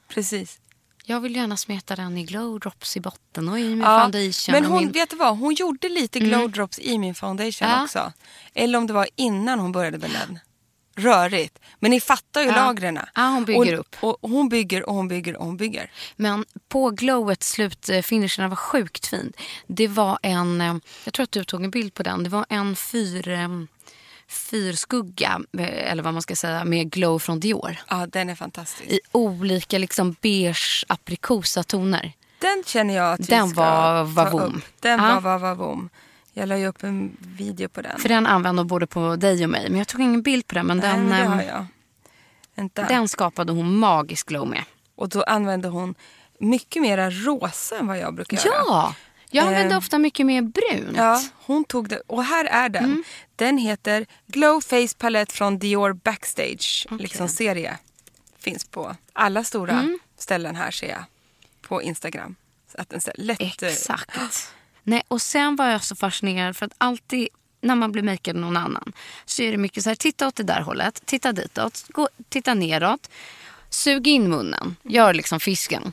Precis.
Jag vill gärna smeta den i glow drops i botten och i min
Ja.
foundation.
Men
och
hon,
min... Mm.
vet du vad? Hon gjorde lite glow drops i min foundation
Ja.
också. Eller om det var innan hon började med den. Rörigt. Men ni fattar ju
Ja.
lagren.
Ja, hon bygger
och,
upp.
Och hon bygger och hon bygger och hon bygger.
Men på glowet slutfinishen var sjukt fint. Det var en, eh, jag tror att du tog en bild på den, det var en fyr, eh, fyrskugga, eh, eller vad man ska säga, med glow från Dior.
Ja, den är fantastisk.
I olika liksom beige aprikosa toner.
Den känner jag att vi
Den
ska
var
ta
vavoom.
upp. Den
Ja.
var var vavoom. Jag la ju upp en video på den.
För den använde hon både på dig och mig. Men jag tog ingen bild på den. Men
Nej,
den,
men det har
eh,
jag. Vänta.
den skapade hon magisk glow med.
Och då använde hon mycket mera rosa än vad jag brukar göra.
Ja! Jag använde
Eh,
ofta mycket mer brunt.
Ja, hon tog det. Och här är den.
Mm.
Den heter Glow Face Palette från Dior Backstage. Liksom serie. Finns på alla stora
Mm.
ställen här ser jag. På Instagram. Så att den ser lätt... eh,
Exakt. Nej, och sen var jag så fascinerad för att alltid när man blir makead av någon annan så är det mycket så här, titta åt det där hållet, titta ditåt, gå, titta neråt. Sug in munnen, gör liksom fisken.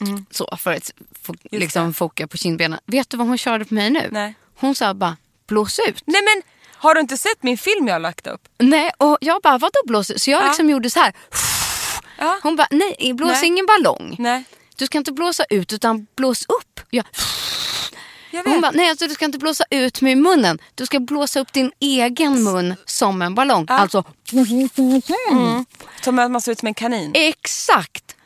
Mm.
Så, för att få, liksom foka på kindbenen. Vet du vad hon körde på mig nu?
Nej.
Hon sa bara, blås ut.
Nej men, har du inte sett min film jag har lagt upp?
Nej, och jag bara, vadå blås ut? Så jag liksom gjorde så här.
Ja.
Hon bara, nej, blås
Nej.
ingen ballong.
Nej,
Du ska inte blåsa ut utan blås upp. Jag,
jag vet.
hon bara, nej alltså, du ska inte blåsa ut med munnen. Du ska blåsa upp din egen mun som en ballong. Alltså,
Mm. Som att man ser ut som en kanin.
exakt.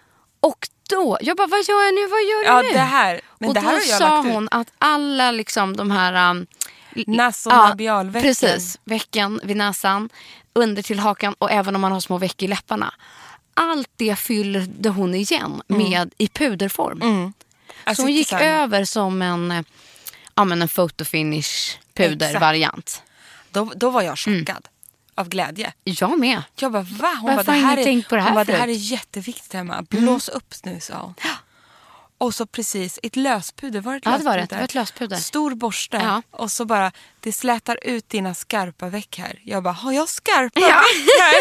Och då, jag bara, vad gör jag nu? Vad gör
Ja,
jag nu?
det här. Men
och
det
då
här har jag
sa
lagt ut.
hon att alla liksom de här... Um,
Nas- och labialvecken.
Precis, veckan vid näsan, under till hakan och även om man har små veck i läpparna. Allt det fyllde hon igen
Mm.
med i puderform.
Alltså,
så hon gick
inte så här-
över som en, eh, ja, men en photofinish pudervariant.
Då, då var jag
Mm.
chockad av glädje.
Jag med.
Jag bara va?
Varför
Hon bara, det
har ingen
här, är,
tänkt på det här
hon bara, det
förut?" Mm.
här är jätteviktigt Emma. Blås upp nu sa hon. Och så precis ett löspuder. Var det ett
Ja, det
löspuder?
var det. Det var ett löspuder.
Stor borste.
Ja.
Och så bara, det slätar ut dina skarpa veck här. Jag bara, har jag skarpa veck här?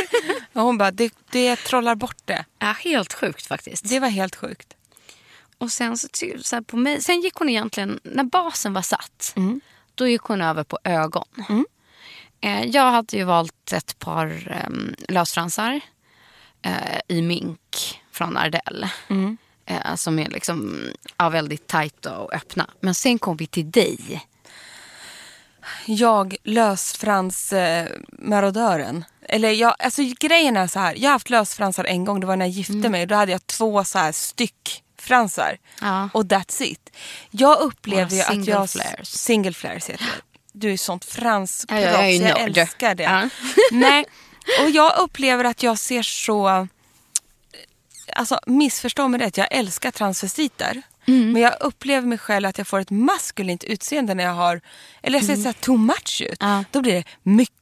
Och hon bara, det, det trollar bort det.
Ja, helt sjukt faktiskt.
Det var helt sjukt.
Och sen, så, ty- så här på mig, sen gick hon egentligen, när basen var satt, då gick hon över på ögon. Eh, jag hade ju valt ett par um, lösfransar eh, i mink från Ardell. Eh, som är liksom, ja, väldigt tajta och öppna. Men sen kom vi till dig.
jag lösfransmarodören. Eller jag, alltså grejen är så här. Jag har haft lösfransar en gång, det var när jag gifte
Mm.
mig. Då hade jag två så här styck fransar.
Ja.
Och that's it. Jag upplever
Några
ju att
single
jag...
flares.
Single flares heter det. Du är sånt franskprat,
Ja, jag är ju
jag
nörd.
älskar det.
Ja.
Nej, och jag upplever att jag ser så... Alltså missförstå mig rätt, jag älskar transvestiter.
Mm.
Men jag upplever mig själv att jag får ett maskulint utseende när jag har, eller jag ser så här too much ut.
Mm. Ja.
Då blir det mycket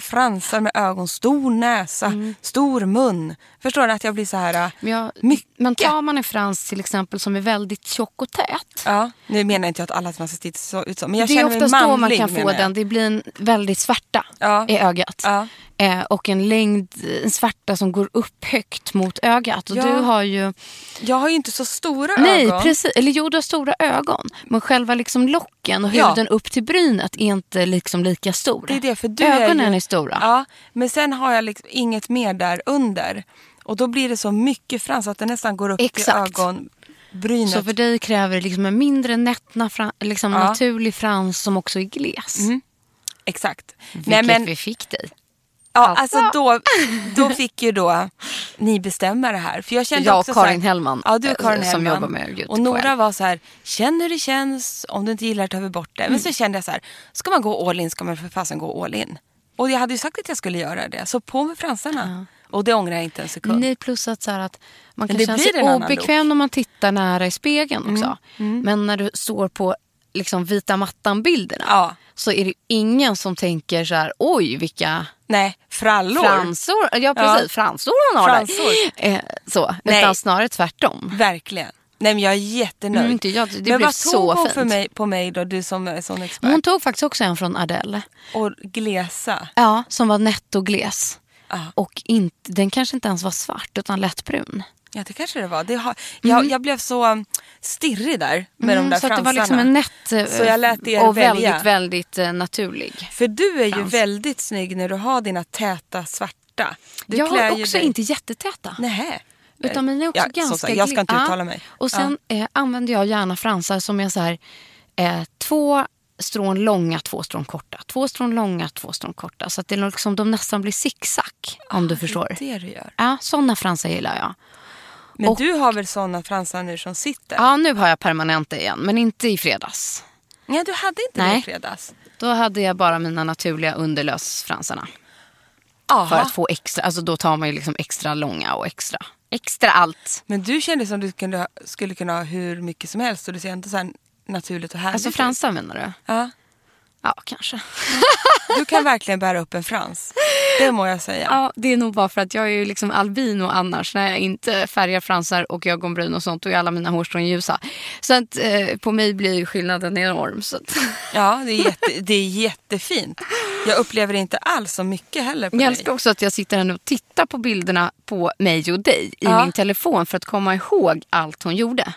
fransar med ögon, stor näsa, stor mun. Förstår ni att jag blir så här,
Mm.
äh,
Men, jag,
mycket.
men tar man en frans till exempel som är väldigt tjock och tät.
Ja, nu menar inte jag att alla transvestiter ser ut så, men jag
det är
känner mig
oftast
manlig.
då man kan få
menar jag.
den. Det blir en väldigt svärta
Ja.
i ögat.
Ja.
Eh, och en längd, en svärta som går upp högt mot ögat. Och
Ja.
du har ju...
Jag har ju inte så stora
Nej,
ögon.
precis. Eller jo, du har stora ögon. Men själva liksom locken och
Ja.
huden upp till brynet är inte liksom lika stor.
Det är det, för du
Ögonen
är,
är,
ju,
stora.
Ja, men sen har jag liksom inget mer där under. Och då blir det så mycket frans att det nästan går upp
Exakt.
till ögonbrynet.
Så för dig kräver det liksom en mindre nättna, fran, liksom
Ja.
naturlig frans som också är gles.
Exakt. Nej,
Vilket
men,
vi fick dig.
ja, alltså då, då fick ju då ni bestämma det här. För jag kände
Jag och
också så här-
Karin Hellman,
Ja, du och Karin
eh, som
Hellman.
jobbar med ljud
Och
på
Nora
el.
var så här, känn hur det känns, om du inte gillar det tar vi bort det.
Mm.
Men så kände jag så här, ska man gå all in ska man för fasen gå all in. Och jag hade ju sagt att jag skulle göra det, så på med fransarna. Och det ångrar jag inte en sekund.
Nej, plus att, så här att man kan
det
känna
blir
sig
en annan Mm,
obekväm när man tittar nära i spegeln också. Men när du står på liksom, vita mattan-bilderna
Ja.
så är det ingen som tänker så här, oj vilka
Nej, frallor.
fransor, ja, precis, fransor hon har
Fransor.
där. Eh, så.
Nej.
Utan snarare tvärtom.
Verkligen. Nej men jag är jättenöjd.
Mm, inte jag. Det
men
blev
vad
så
tog hon
fint.
För mig, på mig då, du som är sån expert?
Hon tog faktiskt också en från Adele.
Och glesa.
Ja, som var nettogles.
Ja.
Och inte, den kanske inte ens var svart utan lättbrun.
Ja det kanske det var. Det har, jag, jag blev så um, stirrig där med
Mm,
de där
så att det
fransarna.
var liksom en nätt eh,
Så jag lät er
och
välja.
väldigt, väldigt eh, naturlig.
För du är ju
Frans.
väldigt snygg när du har dina täta svarta. Du
jag
klär
har
ju
också
dig-
inte jättetäta.
Nähä.
Utan mina är också
Ja, som
ganska...
sagt, jag ska
gl-
inte
Ja.
uttala mig.
Och sen eh, använder jag gärna fransar som är så här, eh, två strån långa, två strån korta. Två strån långa, två strån korta. Så att det är liksom, de nästan blir zigzag, om du förstår.
Ah, Det är det du gör.
Ja, sådana fransar gillar jag.
Men
Och-
du har väl såna fransar nu som sitter?
Ja, nu har jag permanenta igen, men inte i fredags.
Nej, du hade inte det
Nej.
i fredags.
Då hade jag bara mina naturliga underlösfransarna. För
Aha.
att få extra, alltså då tar man ju liksom extra långa och extra, extra allt.
Men du kände som du kunde, ha- skulle kunna ha hur mycket som helst och du ser ändå så här naturligt och härligt
Alltså
ut.
fransar menar du?
Ja.
Ja, kanske.
Du kan verkligen bära upp en frans. Det må jag säga.
Ja, det är nog bara för att jag är ju liksom albino annars. När jag inte färgar fransar och ögonbryn och sånt, då är alla mina hårstrån ljusa. Så att eh, på mig blir ju skillnaden enorm. Så att,
Ja, det är, jätte, det är jättefint. Jag upplever inte alls så mycket heller på
jag
dig.
älskar också att jag sitter här nu och tittar på bilderna på mig och dig i
Ja.
min telefon för att komma ihåg allt hon gjorde.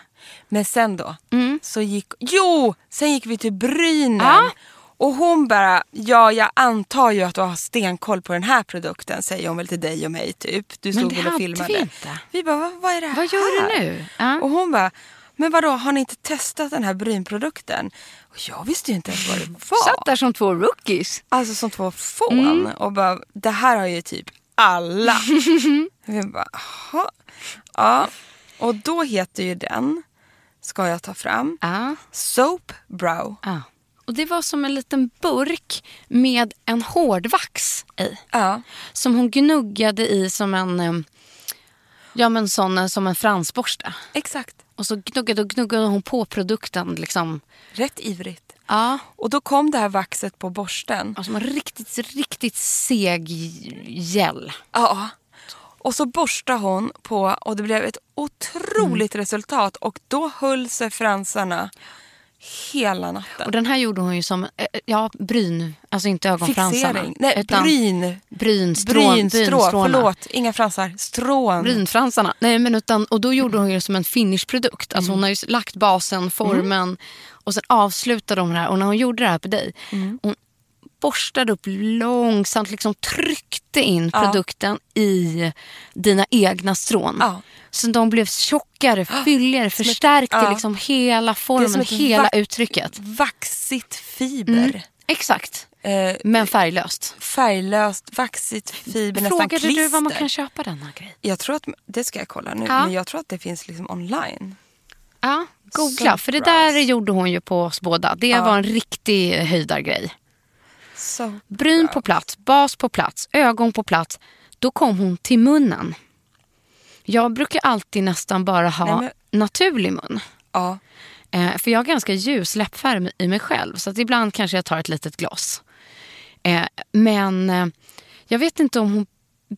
Men sen då, så gick... Jo! Sen gick vi till Brynen.
Mm. Ja.
Och hon bara, ja jag antar ju att du har stenkoll på den här produkten, säger hon väl till dig och mig typ. Du
Men
stod
det
väl och
hade
filmade.
vi inte.
Vi bara, vad, vad är det här?
Vad gör du nu? Ja.
Och hon bara, men vadå har ni inte testat den här brynprodukten? Och jag visste ju inte ens vad det var.
Satt där som två rookies.
Alltså som två fån
Mm.
och bara, det här har ju typ alla. Vi bara, jaha. Ja. Och då heter ju den, ska jag ta fram,
Ja.
Soap Brow.
Ja. Och det var som en liten burk med en hårdvax i.
Ja.
Som hon gnuggade i som en, eh, ja, men sån, eh, som en fransborste.
Exakt.
Och så gnuggade och gnuggade hon på produkten. Liksom.
Rätt ivrigt.
Ja.
Och då kom det här vaxet på borsten.
Som Alltså, en riktigt, riktigt seg gel.
Ja. Och så borstade hon på och det blev ett otroligt
Mm.
resultat och då höll sig fransarna hela
Och
natten.
den här gjorde hon ju som eh, ja, bryn, alltså inte ögonfransarna.
Fixering. Nej,
utan
bryn.
Brynstrån,
Brynstrå.
brynstråna.
Förlåt, inga fransar. Strån.
Brynfransarna. Nej, men utan, och då gjorde hon ju som en finishprodukt.
Mm.
Alltså Hon har ju lagt basen, formen och sen avslutade hon det här. Och när hon gjorde det här på dig,
Mm.
hon borstade upp långsamt, liksom tryckte in produkten i dina egna strån.
Ja.
Så de blev tjockare, fylligare, förstärkte
ja.
liksom hela formen,
ett
hela
vack-
uttrycket.
Vaxigt fiber.
Exakt,
Eh,
men färglöst.
färglöst, vaxigt fiber, nästan
Frågade
klister.
du var man kan köpa den här grejen?
Jag tror att, det ska jag kolla nu,
Ja.
men jag tror att det finns liksom online.
Ja, googla. För det där
Surprise.
gjorde hon ju på oss båda. Det var en riktig höjdargrej.
Så
Bryn på plats, bas på plats, ögon på plats. Då kom hon till munnen. Jag brukar alltid nästan bara ha
Nej,
naturlig mun.
Ja,
Eh, för jag har ganska ljus läppfärg i mig själv. Så att ibland kanske jag tar ett litet glas. Eh, men eh, jag vet inte om hon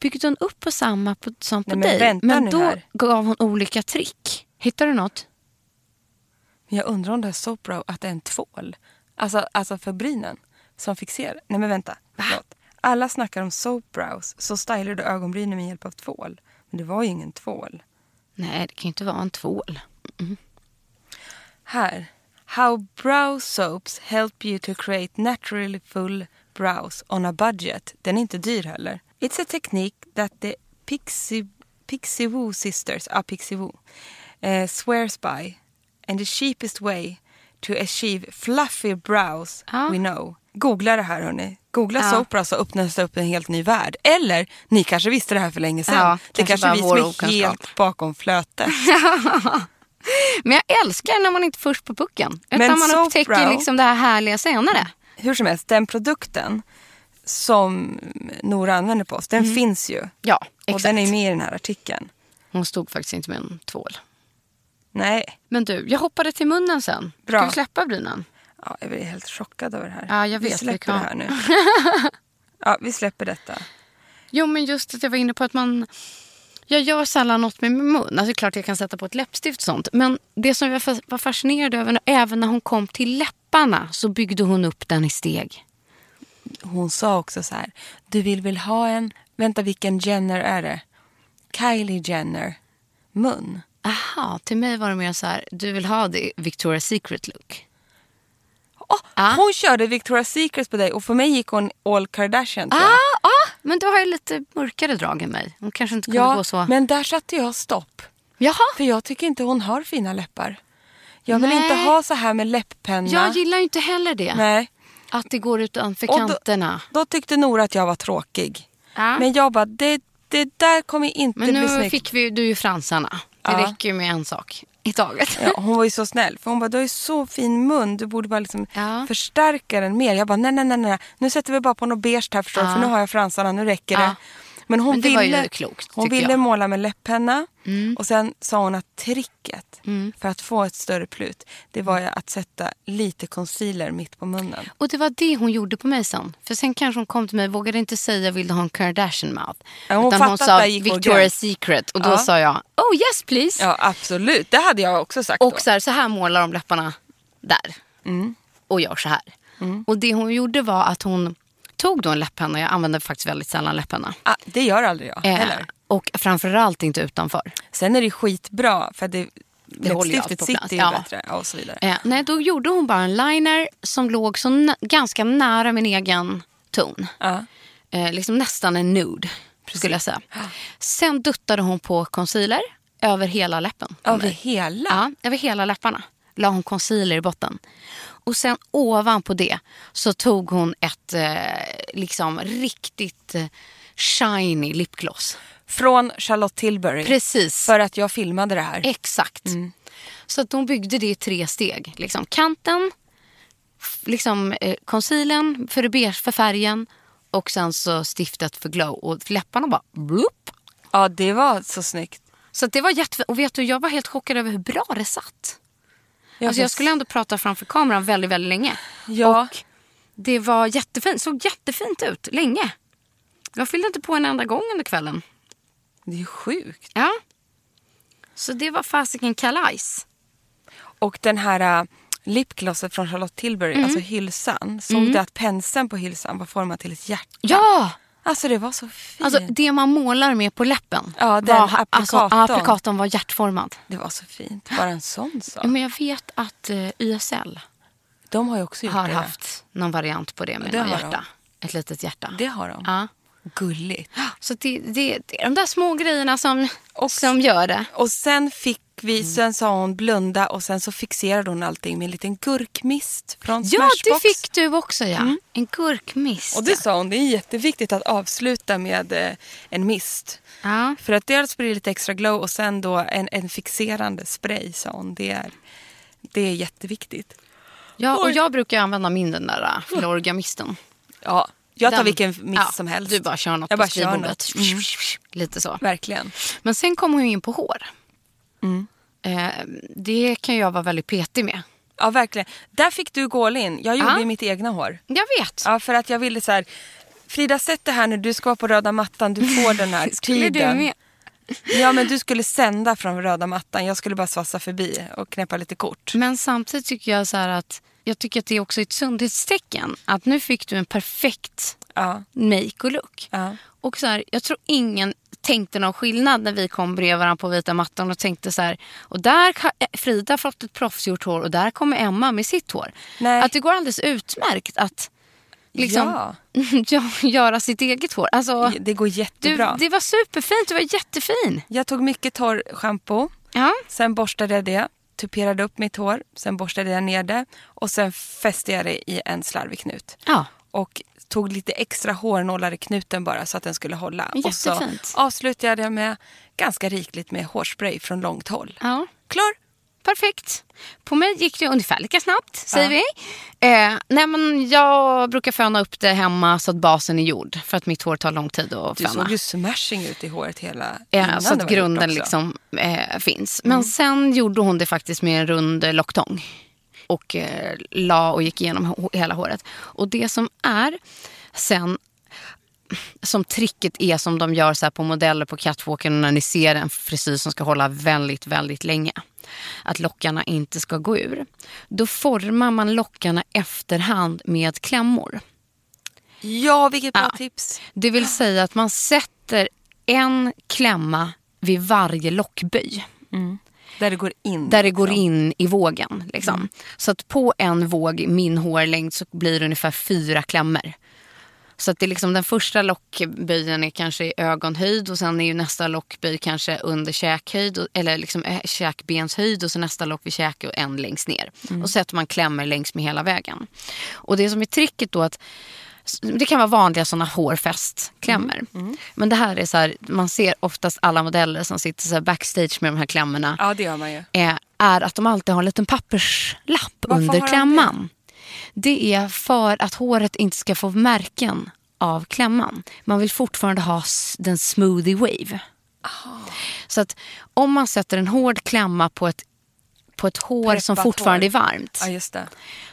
byggde hon upp på samma på, som på
Nej, men
dig.
vänta
men
nu
då
här.
gav hon olika trick. Hittar du något?
men jag undrar om det här Soapbrow, att det är en tvål. Alltså, alltså för brynen som fixerar. Nej men vänta, förlåt. Alla snackar om Soapbrows, så stylar du ögonbrynen med hjälp av tvål. Men det var ju ingen tvål.
Nej, det kan ju inte vara en tvål.
Här. How brow soaps help you to create naturally full brows on a budget. Den är inte dyr heller. It's a technique that the Pixie, Pixie Woo sisters, ah, Pixie Woo, eh, swears by. And the cheapest way to achieve fluffy brows
Ah.
we know. Googla det här hörni. Googla soap brows så öppnas det upp en helt ny värld. Eller, ni kanske visste det här för länge sedan.
Ja,
det
kanske
kanske
bara
är vi
vår
som är
okunskap.
helt bakom flötet.
Men jag älskar när man inte är först på pucken. Utan
Men
man
so
upptäcker
proud.
liksom det här härliga senare.
hur som helst, den produkten som Nora använder på oss, den finns ju.
Ja,
Och
Mm. exakt.
den är med i den här artikeln.
Hon stod faktiskt inte med en tvål.
Nej,
Men du, jag hoppade till munnen sen.
Bra.
Ska vi släppa brynen?
ja, jag blir helt chockad över det här.
Ja, jag
Vi
vet, vi
släpper
kan-
det här nu. ja, vi släpper detta.
Jo, men just att jag var inne på att man... Jag gör sällan något med min mun. Alltså, det är klart jag kan sätta på ett läppstift och sånt. Men det som jag var fascinerad över, även när hon kom till läpparna så byggde hon upp den i steg.
Hon sa också så här, du vill väl ha en, vänta vilken Jenner är det? Kylie Jenner mun.
Aha, till mig var det mer så här, du vill ha det Victoria's Secret look.
Åh,
Ah.
Hon körde Victoria's Secret på dig och för mig gick hon all Kardashian. tror jag.
Ah, ah, men du har ju lite mörkare drag än mig. Hon kanske inte kunde
ja,
gå så.
men där satte jag stopp.
Jaha,
För jag tycker inte hon har fina läppar. Jag vill
Nej.
inte ha så här med läpppenna.
jag gillar ju inte heller det.
Nej.
Att det går utanför
Och då-
kanterna.
Då tyckte Nora att jag var tråkig.
Ja.
Men jag bara, det, det där kommer inte
Men
bli
nu
snyggt.
fick vi, du ju fransarna. Det
Ja.
räcker ju med en sak i taget.
Ja, hon var ju så snäll. För hon bara, du har ju så fin mun. Du borde bara liksom
Ja.
förstärka den mer. Jag bara, nej, nej, nej, nej. Nu sätter vi bara på något beige här förstår du,
Ja.
För nu har jag fransarna, nu räcker det.
Ja.
Men hon
Men det var ju
ville,
klokt,
hon
tycker
ville
jag. Mm.
måla med läpppenna. Och sen sa hon att tricket för att få ett större plut, det var ju att sätta lite concealer mitt på munnen.
Och det var det hon gjorde på mig sen. För sen kanske hon kom till mig och vågade inte säga vill du ha en Kardashian mouth.
Ja, hon
Utan
fattade
hon
att
sa
det gick vår
Victoria's
gräns.
Secret och då
Ja.
sa jag oh yes please.
Ja, absolut. Det hade jag också sagt då.
Och så här, så här målar de läpparna där. Och gör så här. Och det hon gjorde var att hon tog då en läpppenna, jag använder faktiskt väldigt sällan läpparna.
Ah, det gör aldrig jag heller.
och framförallt inte utanför.
Sen är det skitbra för att det,
håller ju allt
läppstiftet
på
sitter
plats,
ju
ja.
bättre. Ja, och så vidare.
Eh, nej, då gjorde hon bara en liner som låg så nä- ganska nära min egen ton.
Ja.
Eh, liksom nästan en nude, skulle jag säga. Sen duttade hon på concealer över hela läppen. på
Över
mig.
hela?
Ja, över hela läpparna. La hon concealer i botten. Och sen ovanpå det så tog hon ett eh, liksom riktigt eh, shiny lipgloss.
Från Charlotte Tilbury.
Precis.
För att jag filmade det här.
Exakt. Så att de byggde det i tre steg. Liksom kanten, f- liksom eh, concealern för, det beige, för färgen och sen så stiftet för glow. Och läpparna bara bloop.
Ja, det var så snyggt.
Så att det var jätte... Och vet du, jag var helt chockad över hur bra det satt.
Jag,
alltså jag skulle ändå prata framför kameran väldigt, väldigt länge.
Ja.
Och det var jättefint, såg jättefint ut länge. Jag fyllde inte på en enda gång under kvällen.
Det är sjukt.
Ja. Så det var fasiken kalajs.
Och den här äh, lipglosset från Charlotte Tilbury,
Mm.
alltså hylsan. Såg du att penseln på hylsan var formad till ett hjärta?
Ja!
Alltså det var så fint.
Alltså det man målar med på läppen.
Ja, den
var, alltså,
applikatorn.
applikatorn var hjärtformad.
det var så fint. Bara en sån sak.
Men jag vet att eh, YSL
De har ju också gjort
har
det.
haft någon variant på det med
Det
något
har
hjärta. Ett litet hjärta.
Det har de.
Ja.
Gulligt.
Så det, det, det är de där små grejerna som,
Och-
som gör det.
Och sen fick vi,
Mm.
sen sa hon blunda och sen så fixerade hon allting med en liten gurkmist från
Ja,
Smashbox.
det fick du också ja. En gurkmist.
Och det sa hon, det är jätteviktigt att avsluta med eh, en mist.
ja.
För att dels blir det lite extra glow och sen då en, en fixerande spray sa hon. Det är, det är jätteviktigt.
Ja, och
Oj.
jag brukar ju använda min den där äh, florgamisten.
Ja, jag tar
Den-
vilken mist
ja,
som helst.
Du bara kör något
jag
på
bara kör
skrivbordet.
något. Mm,
Lite så.
verkligen. Mm.
Men sen kom hon ju in på hår. Eh, det kan jag vara väldigt petig med.
Ja, verkligen. Där fick du gå all in. Jag gjorde
Ja.
ju mitt egna hår.
Jag vet.
Ja, för att jag ville så här. Frida, sätt det här nu. Du ska vara på röda mattan. Du får den här
Skulle
tiden.
du med?
Ja, men du skulle sända från röda mattan. Jag skulle bara svassa förbi och knäppa lite kort.
Men samtidigt tycker jag så här att jag tycker att det är också ett sundhetstecken. Att nu fick du en perfekt
Ja.
make och look.
Ja.
Och så här, jag tror ingen tänkte någon skillnad när vi kom bredvid varandra på vita mattan och tänkte så här. Och där har Frida fått ett proffsgjort hår och där kommer Emma med sitt hår.
Nej.
Att det går alldeles utmärkt att liksom,
Ja.
ja. göra sitt eget hår. Alltså,
Det går
du,
jättebra.
det var superfint, du var jättefin.
Jag tog mycket torrschampo.
Ja.
Sen borstade jag det. Tuperade upp mitt hår. Sen borstade jag ner det. Och sen fäste jag det i en slarvig knut.
Ja.
Och tog lite extra hårnålar i knuten bara så att den skulle hålla. Och så
Jättefint.
avslutade jag med ganska rikligt med hårspray från långt håll.
ja.
Klar!
Perfekt. På mig gick det ungefär lika snabbt, säger vi. Eh, nej, men jag brukar föna upp det hemma så att basen är gjord. För att mitt hår tar lång tid att
Du
föna.
såg ju smashing ut i håret hela
Eh,
innan
så
det
att
var gjort
grunden
också. Mm.
liksom, eh, finns. Men sen gjorde hon det faktiskt med en rund eh, locktång. Och eh, la och gick igenom h- hela håret. Och det som är sen som tricket är som de gör så här på modeller på catwalken när ni ser en frisyr som ska hålla väldigt, väldigt länge. Att lockarna inte ska gå ur. Då formar man lockarna efterhand med klämmor.
Ja, vilket bra tips.
Det vill säga att man sätter en klämma vid varje lockböj.
Där det går in.
Där det går in i vågen. Liksom. Så att på en våg, min hårlängd, så blir det ungefär fyra klämmor. Så att det är liksom den första lockböjen är kanske i ögonhöjd och sen är ju nästa lockböj kanske under käkhöjd och, eller liksom eh, käkbenshöjd och så nästa lock vid käke och en längst ner. Och så sätter man klämmer längs med hela vägen. Och det som är tricket då att det kan vara vanliga såna hårfästklämmor. Men det här är så här, man ser oftast alla modeller som sitter så här backstage med de här klämmorna
Ja, det gör man ju.
eh, är att de alltid har en liten papperslapp
Varför har
under
de
klämman. Det? är för att håret inte ska få märken av klämman. Man vill fortfarande ha s- den smoothie wave. Så att om man sätter en hård klämma på ett, på ett hår som
Preppat
fortfarande
hår.
är varmt,
Ja, just det.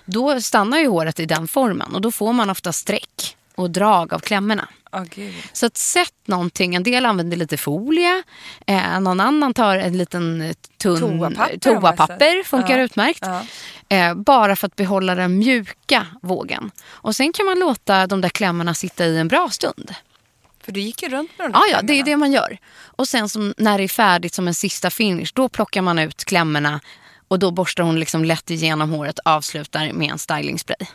då stannar ju håret i den formen och då får man ofta streck och drag av klämmorna.
Åh gud.
Så att sätt någonting. En del använder lite folie. Eh, någon annan tar en liten eh, tunn
Toapapper, har
toapapper
jag sett.
funkar
Ja,
utmärkt.
ja.
Eh, bara för att behålla den mjuka vågen. Och sen kan man låta de där klämmorna sitta i en bra stund.
För du gick ju runt med de
Ja,
där
ja, det är det
klämmorna.
man gör. Och sen som, när det är färdigt som en sista finish, då plockar man ut klämmorna och då borstar hon liksom lätt igenom håret och avslutar med en stylingspray.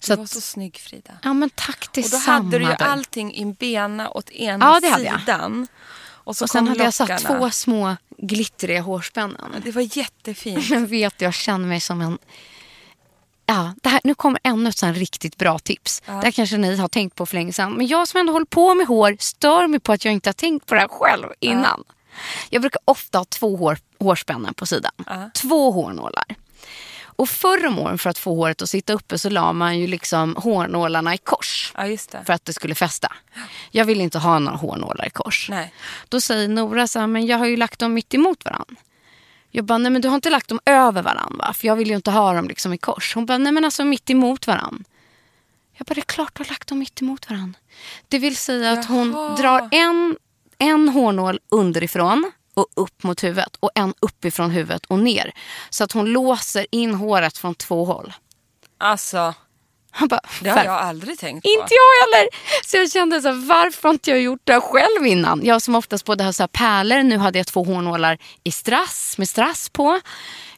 Så
Du var
att,
så snygg Frida.
ja men tack
Och då
detsamma.
hade du ju
där.
allting i bena åt ena
Ja, det hade jag.
sidan. Och, så
Och sen
kom
hade jag satt
lockarna.
två små glittriga hårspännen.
Det var jättefint.
Jag vet, jag känner mig som en... Ja, det här, nu kommer ännu ett sånt riktigt bra tips. Det här kanske ni har tänkt på för länge sedan. Men jag som ändå håller på med hår stör mig på att jag inte har tänkt på det här själv innan. Jag brukar ofta ha två hår, hårspännen på sidan. Två hårnålar. Och förr om åren för att få håret att sitta uppe så la man ju liksom hårnålarna i kors.
Ja, just det.
För att det skulle fästa. Jag vill inte ha några hårnålar i kors.
Nej.
Då säger Nora så här, men jag har ju lagt dem mitt emot varandra. Jag bara, nej men du har inte lagt dem över varandra va? För jag vill ju inte ha dem liksom i kors. Hon bara, nej men alltså mitt emot varandra. Jag bara, det är klart du har lagt dem mitt emot varandra. Det vill säga att hon drar en, en hårnål underifrån och upp mot huvudet och en uppifrån huvudet och ner. Så att hon låser in håret från två håll.
Alltså,
Han bara,
det har jag aldrig tänkt på.
inte jag heller. Så jag kände så här, varför har inte jag gjort det här själv innan? Jag som oftast både har så här pärlor, nu hade jag två hårnålar i strass, med strass på.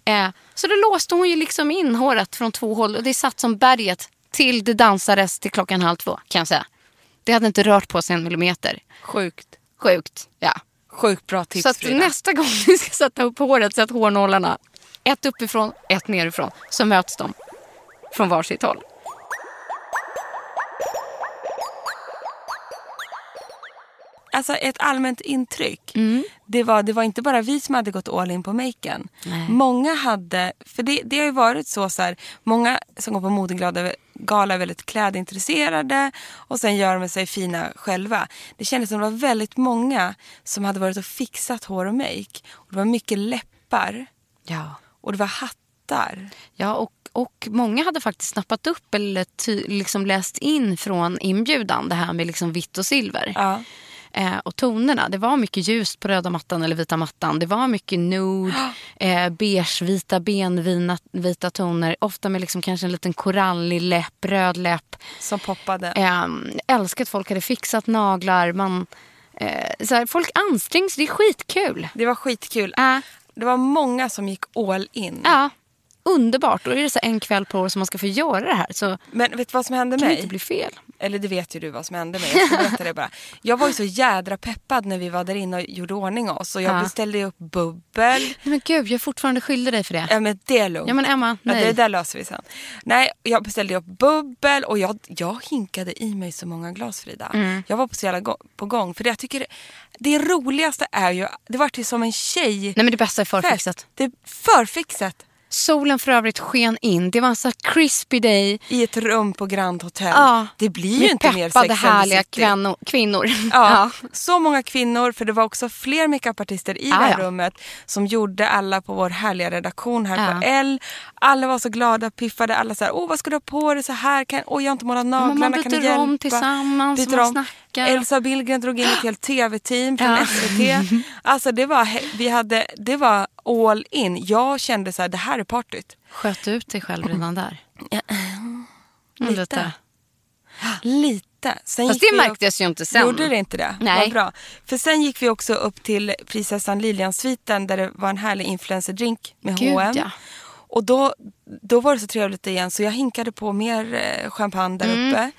Eh, så då låste hon ju liksom in håret från två håll och det satt som berget till det dansades till klockan halv två kan jag säga. Det hade inte rört på sig en millimeter.
Sjukt.
Sjukt. Ja.
Sjukt bra tips
Så att
Frida.
nästa gång ni ska sätta upp håret, sätt hårnålarna ett uppifrån, ett nerifrån. Så möts de från varsitt håll.
Alltså ett allmänt intryck.
Mm.
Det, var, det var inte bara vi som hade gått all in på maken. Många hade, för det, det har ju varit så, så här, många som går på modeglada gala är väldigt klädintresserade och sen gör de sig fina själva. Det kändes som det var väldigt många som hade varit och fixat hår och make. Och det var mycket läppar
Ja.
och det var hattar.
Ja, och, och många hade faktiskt snappat upp eller ty, liksom läst in från inbjudan det här med liksom vitt och silver.
Ja.
Eh, och tonerna, det var mycket ljust på röda mattan eller vita mattan. Det var mycket nude, eh, beige, vita ben, vina, vita toner. Ofta med liksom kanske en liten korallig läpp, röd läpp.
Som poppade.
Eh, älskar att folk hade fixat naglar. Man, eh, så här, folk ansträngs, det är skitkul.
Det var skitkul.
Äh.
Det var många som gick all in.
Ja, underbart. Då är det så här en kväll på år som man ska få göra det här. Så
Men vet du vad som hände
det kan
mig?
ju inte bli fel.
Eller det vet ju du vad som hände mig. Jag ska berätta det bara. Jag var ju så jädra peppad när vi var där inne och gjorde ordning oss. Och jag
Ja.
beställde ju upp bubbel.
Nej, men gud, jag är fortfarande skyldig dig för det.
Ja men det är lugnt.
Ja, men Emma,
Ja,
nej.
det där löser vi sen. Nej, jag beställde ju upp bubbel och jag, jag hinkade i mig så många glas Frida.
Mm.
Jag var på så jävla gå- på gång. För det jag tycker, det roligaste är ju, det vart ju som en tjej
Nej, men det bästa är förfixat.
Det är förfixat.
Solen för övrigt sken in. Det var en så här crispy day.
I ett rum på Grand Hotel.
Ja.
Det blir ju
Med
inte mer sex
peppade
and the
härliga
City.
kvinno- kvinnor.
Ja, så många kvinnor, för det var också fler makeupartister i det här
Ah, ja.
rummet som gjorde alla på vår härliga redaktion här på
Ja.
L. Alla var så glada, piffade, alla så här, åh vad ska du ha på dig så här, kan, åh jag har inte målat naglarna,
man
kan du
byter
hjälpa?
om tillsammans och
Byter
man
om.
snackar.
Elsa Billgren drog in ett helt tv-team från
Ja.
SVT. Alltså det var, he- vi hade, det var all in. Jag kände så här, det här är partyt.
Sköt du ut dig själv redan där? Mm,
Lite.
lite.
Lite. Sen
Fast
gick
det
vi upp-
märktes ju inte sen.
Gjorde det inte det?
Nej.
Vad bra. För sen gick vi också upp till prinsessan Lilian-sviten där det var en härlig influencerdrink med
Gud,
H&M.
ja.
Och då, då var det så trevligt igen så jag hinkade på mer eh, champagne där
Mm.
uppe.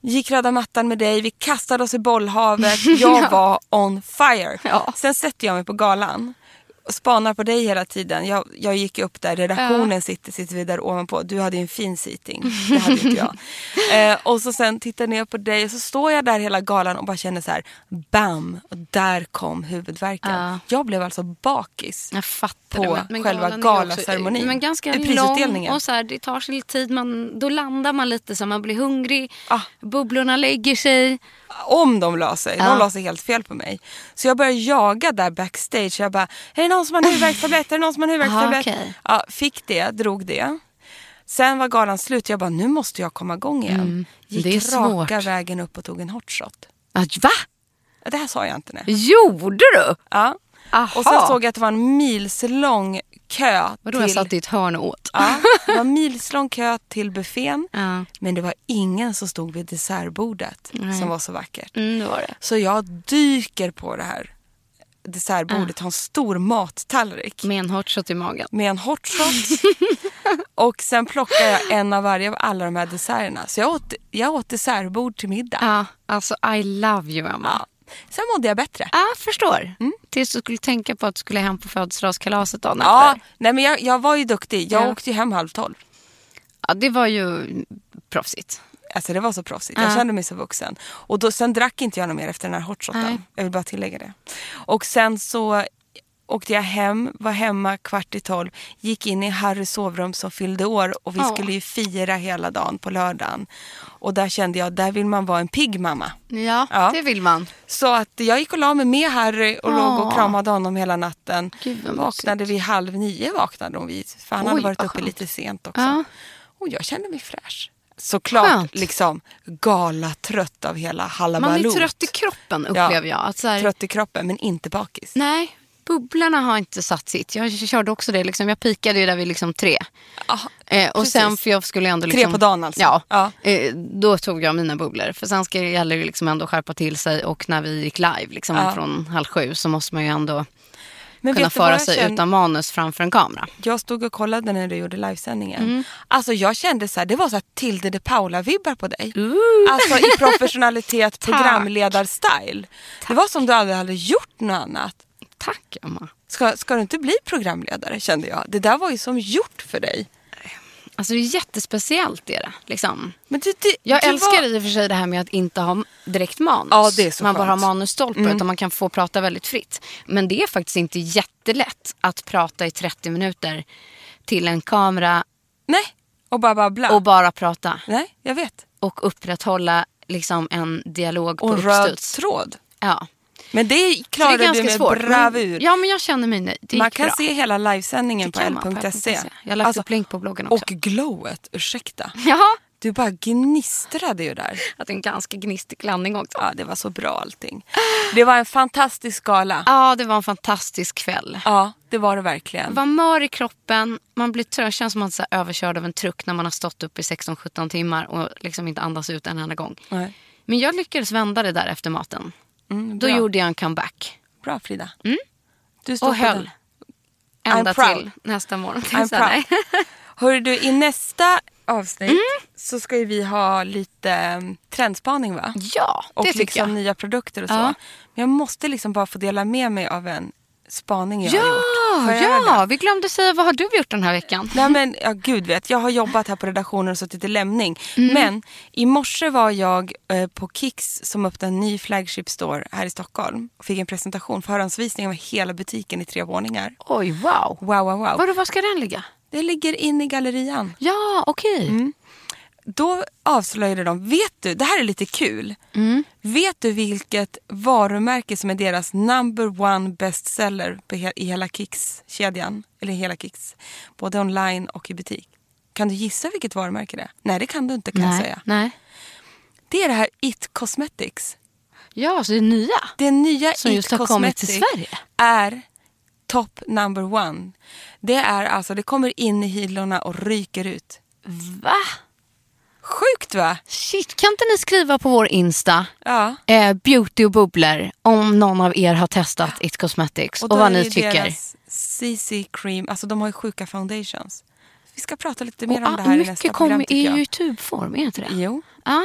Gick röda mattan med dig, vi kastade oss i bollhavet. Jag var on fire.
Ja.
Sen sätter jag mig på galan och spanar på dig hela tiden. Jag, jag gick upp där, redaktionen sitter, sitter vi där ovanpå. Du hade ju en fin seating, det hade ju inte jag. Eh, och så sen tittar jag ner på dig och så står jag där hela galan och bara känner så här, bam, och där kom huvudvärken.
Ja.
Jag blev alltså bakis.
Jag fattar
på
det.
själva
galan är ju också-
galaceremonin.
Men ganska
I
lång
prisutdelningen.
och så här, det tar sin tid. Man, då landar man lite så här, man blir hungrig.
Ah.
Bubblorna lägger sig.
om de la sig.
Ja.
De la sig helt fel på mig. Så jag började jaga där backstage. Jag bara, är det någon som har en huvudvärkstablett? Är det någon som har en huvudvärkstablett?
Aha, okej.
ja, fick det, drog det. Sen var galan slut. Jag bara, nu måste jag komma igång igen. Gick
Mm. Det är
raka
svårt.
vägen upp och tog en hot shot.
Ah, va?
Ja, Det här sa jag inte. Nej.
Gjorde du?
Ja.
Aha.
Och sen såg jag att det var en milslång kö.
Vadå,
till... Ah.
jag satt i ett hörn och åt?
Ja, det var en milslång kö till buffén.
Ja.
Men det var ingen som stod vid dessertbordet som var så vackert.
Mm, det var det.
Så jag dyker på det här dessertbordet, har en stor mattallrik
Med en hot shot i magen.
med en hot shot. och sen plockar jag en av varje av alla de här desserterna. Så jag åt, jag åt dessertbord till middag.
Ja, alltså I love you Emma.
Ja. Sen mådde jag bättre.
Ja, förstår.
Mm.
Tills du skulle tänka på att du skulle hem på födelsedagskalaset dagen
Ja,
efter.
nej men jag, jag var ju duktig. Jag
Ja.
åkte ju hem halv tolv.
Ja, det var ju proffsigt.
Alltså det var så proffsigt. Jag kände mig så vuxen. Och då, sen drack inte jag något mer efter den här hotshoten.
Nej.
Jag vill bara tillägga det. Och sen så åkte jag hem, var hemma kvart i tolv, gick in i Harrys sovrum som fyllde år och vi
Åh.
skulle ju fira hela dagen på lördagen. Och där kände jag, där vill man vara en pigg mamma.
Ja,
Ja.
det vill man.
Så att jag gick och la mig med Harry och låg och
Åh.
kramade honom hela natten.
Ah. Gud, vad
vaknade vid halv nio vaknade hon vid, för han hade
Oj,
varit
vad
uppe
skönt.
lite sent också.
Ja.
Och jag kände mig fräsch. Såklart
Skönt.
liksom galatrött av hela
Man
halabalot.
är trött i kroppen upplever jag. Att så här,
Trött i kroppen men inte bakis.
Nej, bubblorna har inte satt sitt. Jag körde också det. Liksom, jag pikade ju där vid liksom tre. Eh, och
precis.
sen för jag skulle ändå
Tre
liksom,
på dagen alltså.
Ja,
Ja.
Eh, då tog jag mina bubblor. För sen ska, gäller det ju liksom ändå att skärpa till sig och när vi gick live liksom,
Ja.
från halv sju så måste man ju ändå
Men
kunna
vet du vad
föra
jag
sig
kände?
utan manus framför en kamera.
Jag stod och kollade när du gjorde livesändningen.
Mm.
Alltså jag kände så här, det var så här Tilde de Paula-vibbar på dig. Alltså i professionalitet, programledarstil. Det var som du aldrig hade gjort något annat.
Tack Emma.
Ska, ska du inte bli programledare kände jag. Det där var ju som gjort för dig.
Alltså det är jättespeciellt det är det. Liksom.
Men du, du,
Jag
du
älskar
var...
i och för sig det här med att inte ha direkt manus.
Ja, det är så
man bara har
skönt. Mm.
manusstolpar utan man kan få prata väldigt fritt. Men det är faktiskt inte jättelätt att prata i 30 minuter till en kamera
Nej, och bara babbla.
och bara prata
Nej, jag vet.
och upprätthålla liksom en dialog
Och
på
en röd
uppstuds.
tråd.
Ja.
Men det
Så det är
klarade du
ganska
med
svårt.
bravur.
Men, ja, men jag känner mig nöjd. Det
Man
gick
kan
bra.
se hela livesändningen
Det
på
kan man på
l.se.
L.se. Jag har lagt upp länk på bloggen också.
Alltså, Och glowet, ursäkta.
Jaha.
Du bara gnistrade ju där.
Att det är en ganska gnistig landning också.
Ja, det var så bra allting. Det var en fantastisk gala.
Ja, det var en fantastisk kväll.
Ja, det var det verkligen.
var mör i kroppen, man blir trött, känns som att man är så här överkörd av en truck när man har stått upp i 16-17 timmar och liksom inte andas ut en enda gång.
Nej.
Men jag lyckades vända det där efter maten. Då gjorde jag en comeback
Bra Frida. Du
och
på den.
höll ända
I'm proud.
till nästa morgon.
I'm
Så här,
proud. Hörru du, i nästa avsnitt
Mm.
så ska ju vi ha lite um, trendspaning va?
Ja,
Och
det tycker
liksom
jag.
nya produkter och så.
Ja.
Men jag måste liksom bara få dela med mig av en spaning jag
Ja,
har gjort. Får jag göra den?
ja, vi glömde säga vad har du gjort den här veckan?
Nej men ja, gud vet, jag har jobbat här på redaktionen och suttit i lämning. Men i morse var jag eh, på Kicks som öppnade en ny flagship store här i Stockholm. Och fick en presentation, förhandsvisning av hela butiken i tre våningar.
Oj, wow.
Wow, wow, wow.
Vadå, var ska den ligga?
Det ligger inne i gallerian.
Ja, okej.
Mm, Då avslöjade de, vet du, det här är lite kul.
Mm.
Vet du vilket varumärke som är deras number one bestseller på he- i hela Kicks-kedjan? Eller hela Kicks, både online och i butik. Kan du gissa vilket varumärke det är? Nej, det kan du inte kan jag
Nej,
säga.
nej.
Det är det här It Cosmetics.
Ja, så det är nya.
Det nya
Som
It
just har kommit till
Cosmetics
Sverige.
är top number one. Det är alltså, det kommer in i hyllorna och ryker ut.
Va?
Sjukt va?
Shit, kan inte ni skriva på vår Insta,
Ja.
eh, beauty och bubblor, om någon av er har testat It Cosmetics och,
då
vad
är det
ni
ju
tycker.
Deras CC cream, alltså de har ju sjuka foundations. Vi ska prata lite mer
Och,
om det
ah,
här i nästa
mycket
program
kommer
tycker
är
jag.
ju i tubform, är inte det?
Jo.
Ah,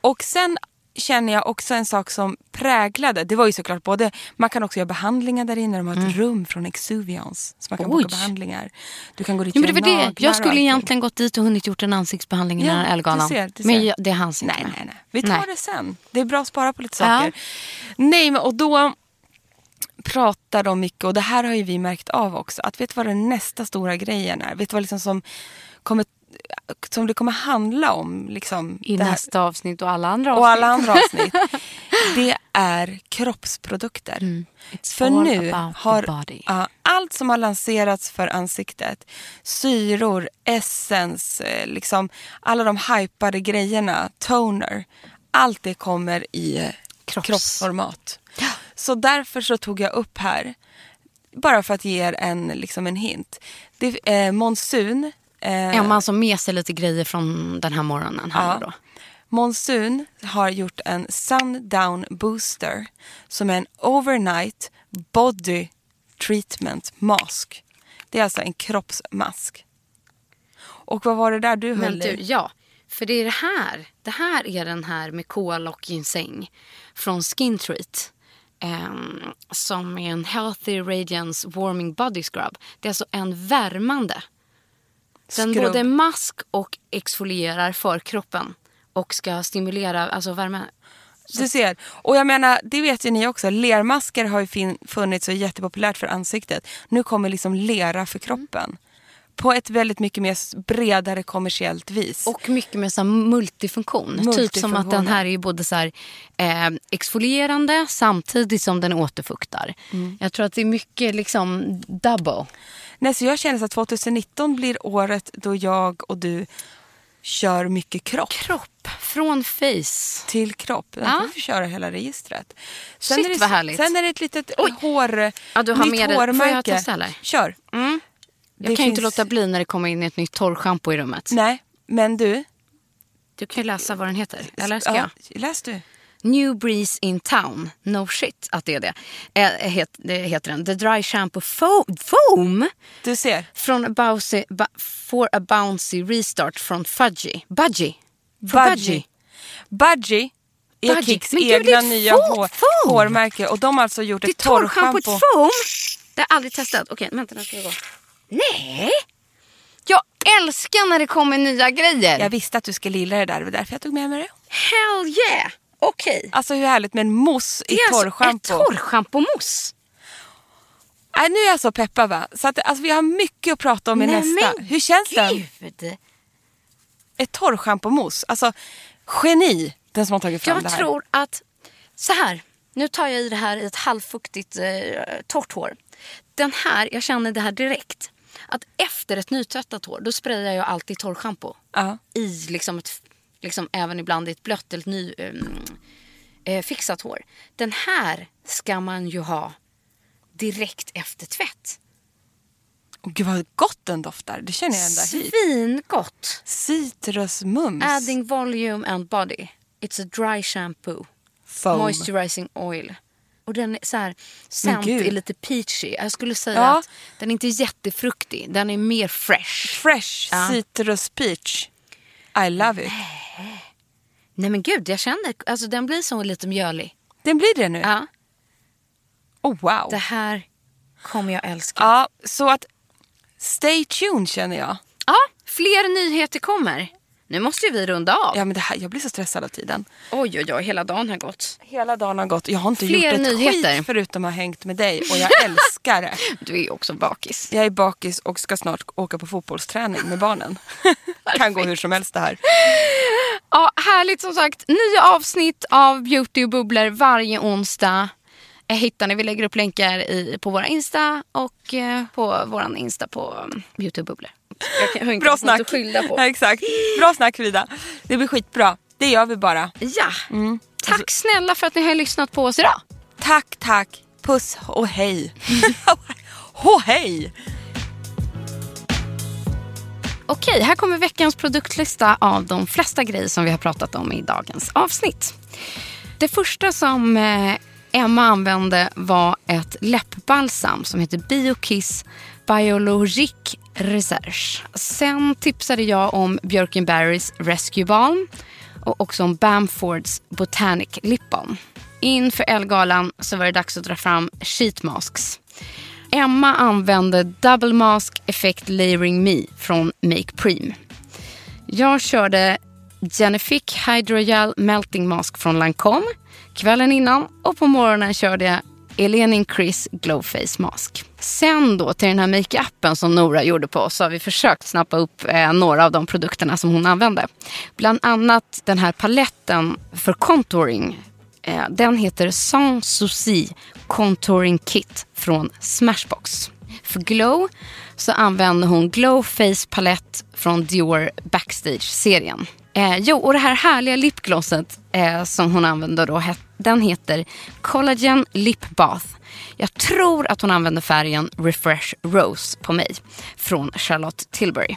Och sen känner jag också en sak som präglade, det var ju såklart både, man kan också göra behandlingar där inne, de har ett rum från Exuvians. Så man kan boka
Mm. Oj.
behandlingar. Du kan gå dit
ja,
och
men det var
göra
det.
naglar
Jag
och
skulle
allting.
egentligen gått dit och hunnit gjort en ansiktsbehandling innan
Ja,
Ellegalan.
du ser, du
Men
ser.
jag, det hanns inte
Nej,
med.
nej, nej. Vi tar
Nej.
det sen. Det är bra att spara på lite
Ja.
saker. Nej, men och då pratar de mycket och det här har ju vi märkt av också. Att vet du vad den nästa stora grejen är? Vet du vad liksom som, kommer, som det kommer handla om? Liksom,
I
det här-
nästa avsnitt och alla andra avsnitt.
och alla andra avsnitt. Det är kroppsprodukter.
Mm. It's
För
all
nu
about the
har
body.
ja, allt som har lanserats för ansiktet, syror, essens, eh, liksom, alla de hypade grejerna, toner, allt det kommer i eh,
Kropps.
kroppsformat. Så därför så tog jag upp här, bara för att ge er en, liksom en hint. Det, eh, monsun, eh,
Ja, man som med sig lite grejer från den här morgonen. Här
Ja.
då.
Monsun har gjort en Sundown Booster som är en overnight body treatment mask. Det är alltså en kroppsmask. Och vad var det där du
Men
höll
du,
i?
ja. För det är det här. Det här är den här med koala och ginseng från Skin Treat. ehm, som är en Healthy Radiance Warming Body Scrub. Det är alltså en värmande. Den
Skrubb.
både mask och exfolierar för kroppen. Och ska stimulera, alltså värme.
Du ser. Och jag menar, det vet ju ni också. Lermasker har ju fin- funnits och är jättepopulärt för ansiktet. Nu kommer liksom lera för kroppen.
Mm.
På ett väldigt mycket mer s- bredare kommersiellt vis.
Och mycket med så här multifunktion. Typ som att den här är ju både så här, eh, exfolierande samtidigt som den återfuktar. Jag tror att det är mycket liksom double.
Nej, så jag känner så att 2019 blir året då jag och du kör mycket kropp.
Kropp från face.
Till kropp. Den
Ja.
får vi köra hela registret.
Shit,
är det,
vad härligt.
Sen är det ett litet hår,
Ja, du har
nytt
med det. Får jag
hårmärke.
testa, eller?
Kör.
Jag
Det
kan ju inte
finns-
låta bli när det kommer in ett nytt torrschampo i rummet.
Nej, men du.
Du kan ju läsa vad den heter. Eller ska jag?
ja, läs du.
New Breeze in Town. No shit att det är det. Eh, het, det heter den. The Dry Shampoo Fo- Foam.
Du ser.
Från a bouncy, ba, for a bouncy restart från Fudgy. Budgie. För
Budgie. Budgie är
Budgie.
Kicks
Men gud, det
egna
är ett
nya
fo-
hår,
foam.
hårmärke. Och de har alltså gjort
Det är
ett torrschampo.
torrschampot foam. Det har jag aldrig testat. Okej, vänta nu ska jag gå. Nej! Jag älskar när det kommer nya grejer.
Jag visste att du skulle gilla det där. Det var därför jag tog med mig det.
Hell yeah! Okej.
Alltså hur härligt med en mousse
Det
i
är alltså ett
torrschampo.
torrschampomousse.
Nej, nu är jag så peppad va. Så att, alltså, vi har mycket att prata om i nästa. Hur känns den?
den?
Ett torrschampomousse. Alltså, geni den som har tagit fram
Jag
det här.
tror att... Så här. Nu tar jag i det här i ett halvfuktigt eh, torrt hår. Den här, jag känner det här direkt. Att efter ett nytvättat hår, då sprayar jag alltid torrschampo.
Ja.
I liksom ett, liksom även ibland i ett blött eller ett ny, ehm, eh, fixat hår. Den här ska man ju ha direkt efter tvätt.
Åh, gud vad gott den doftar. Det känner jag ända hit.
Svingott!
Citrusmums.
Adding volume and body. It's a dry shampoo.
Foam.
Moisturizing oil. Och den är så här, scent
gud.
är lite peachy. Jag skulle säga
Ja.
att den är inte jättefruktig. Den är mer fresh.
Fresh
Ja.
citrus peach. I love it.
Nej men gud, jag känner, alltså den blir som lite mjölig.
Den blir det nu.
Ja,
Oh wow.
det här. kommer jag älska. Ja,
Ja, så att stay tuned känner jag.
fler nyheter kommer. Nu måste ju vi runda av.
Ja, men det här, jag blir så stressad av tiden.
Oj, oj, oj, hela dagen har gått.
Hela dagen har gått. Jag har inte
Fler
gjort ett
nyheter.
skit förutom att ha hängt med dig och jag älskar det.
Du är ju också bakis.
Jag är bakis och ska snart åka på fotbollsträning med barnen. kan gå hur som helst det här.
Ja, härligt som sagt. Nya avsnitt av Beauty och bubblor varje onsdag. Eh, Hittar ni, vi lägger upp länkar i, på våra Insta och eh, på våran Insta på um, Beauty och bubblor. Jag kan- jag har inte
Bra
haft något
snack.
att skylla på.
Ja, exakt. Bra snack Frida. Det blir skitbra. Det gör vi bara.
Ja,
Mm.
tack snälla för att ni har lyssnat på oss idag.
Tack, tack. Puss och hej. Hå hej!
Okej, här kommer veckans produktlista av de flesta grejer som vi har pratat om i dagens avsnitt. Det första som eh, Emma använde var ett läppbalsam som heter Biokiss Biologic Research. Sen tipsade jag om Björkenberrys Rescue Balm och också om Bamfords Botanic Lip Balm. Inför Elgalan så var det dags att dra fram sheet masks. Emma använde Double Mask Effect Layering Me från Make Prime. Jag körde Genifique Hydrogel Melting Mask från Lancome kvällen innan och på morgonen körde jag Elenin Chris Glow Face Mask. Sen då till den här makeupen som Nora gjorde på oss så har vi försökt snappa upp eh, några av de produkterna som hon använde. Bland annat den här paletten för contouring. Eh, den heter Sans Souci Contouring Kit från Smashbox. För glow så använder hon Glow Face Palette från Dior Backstage-serien. Eh, jo, och det här härliga lipglosset eh, som hon använder då, het- den heter Collagen Lip Bath. Jag tror att hon använder färgen Refresh Rose på mig från Charlotte Tilbury.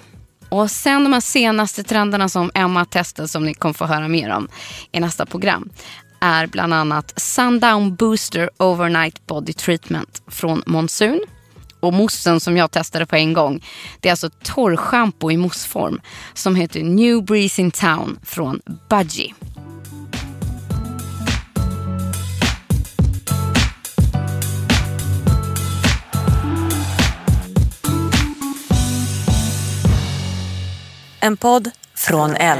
Och sen de här senaste trenderna som Emma testar som ni kommer få höra mer om i nästa program är bland annat Sundown Booster Overnight Body Treatment från Monsoon. Och moussen som jag testade på en gång, det är alltså torrschampo i mousseform som heter New Breeze in Town från Budgie.
En podd från L.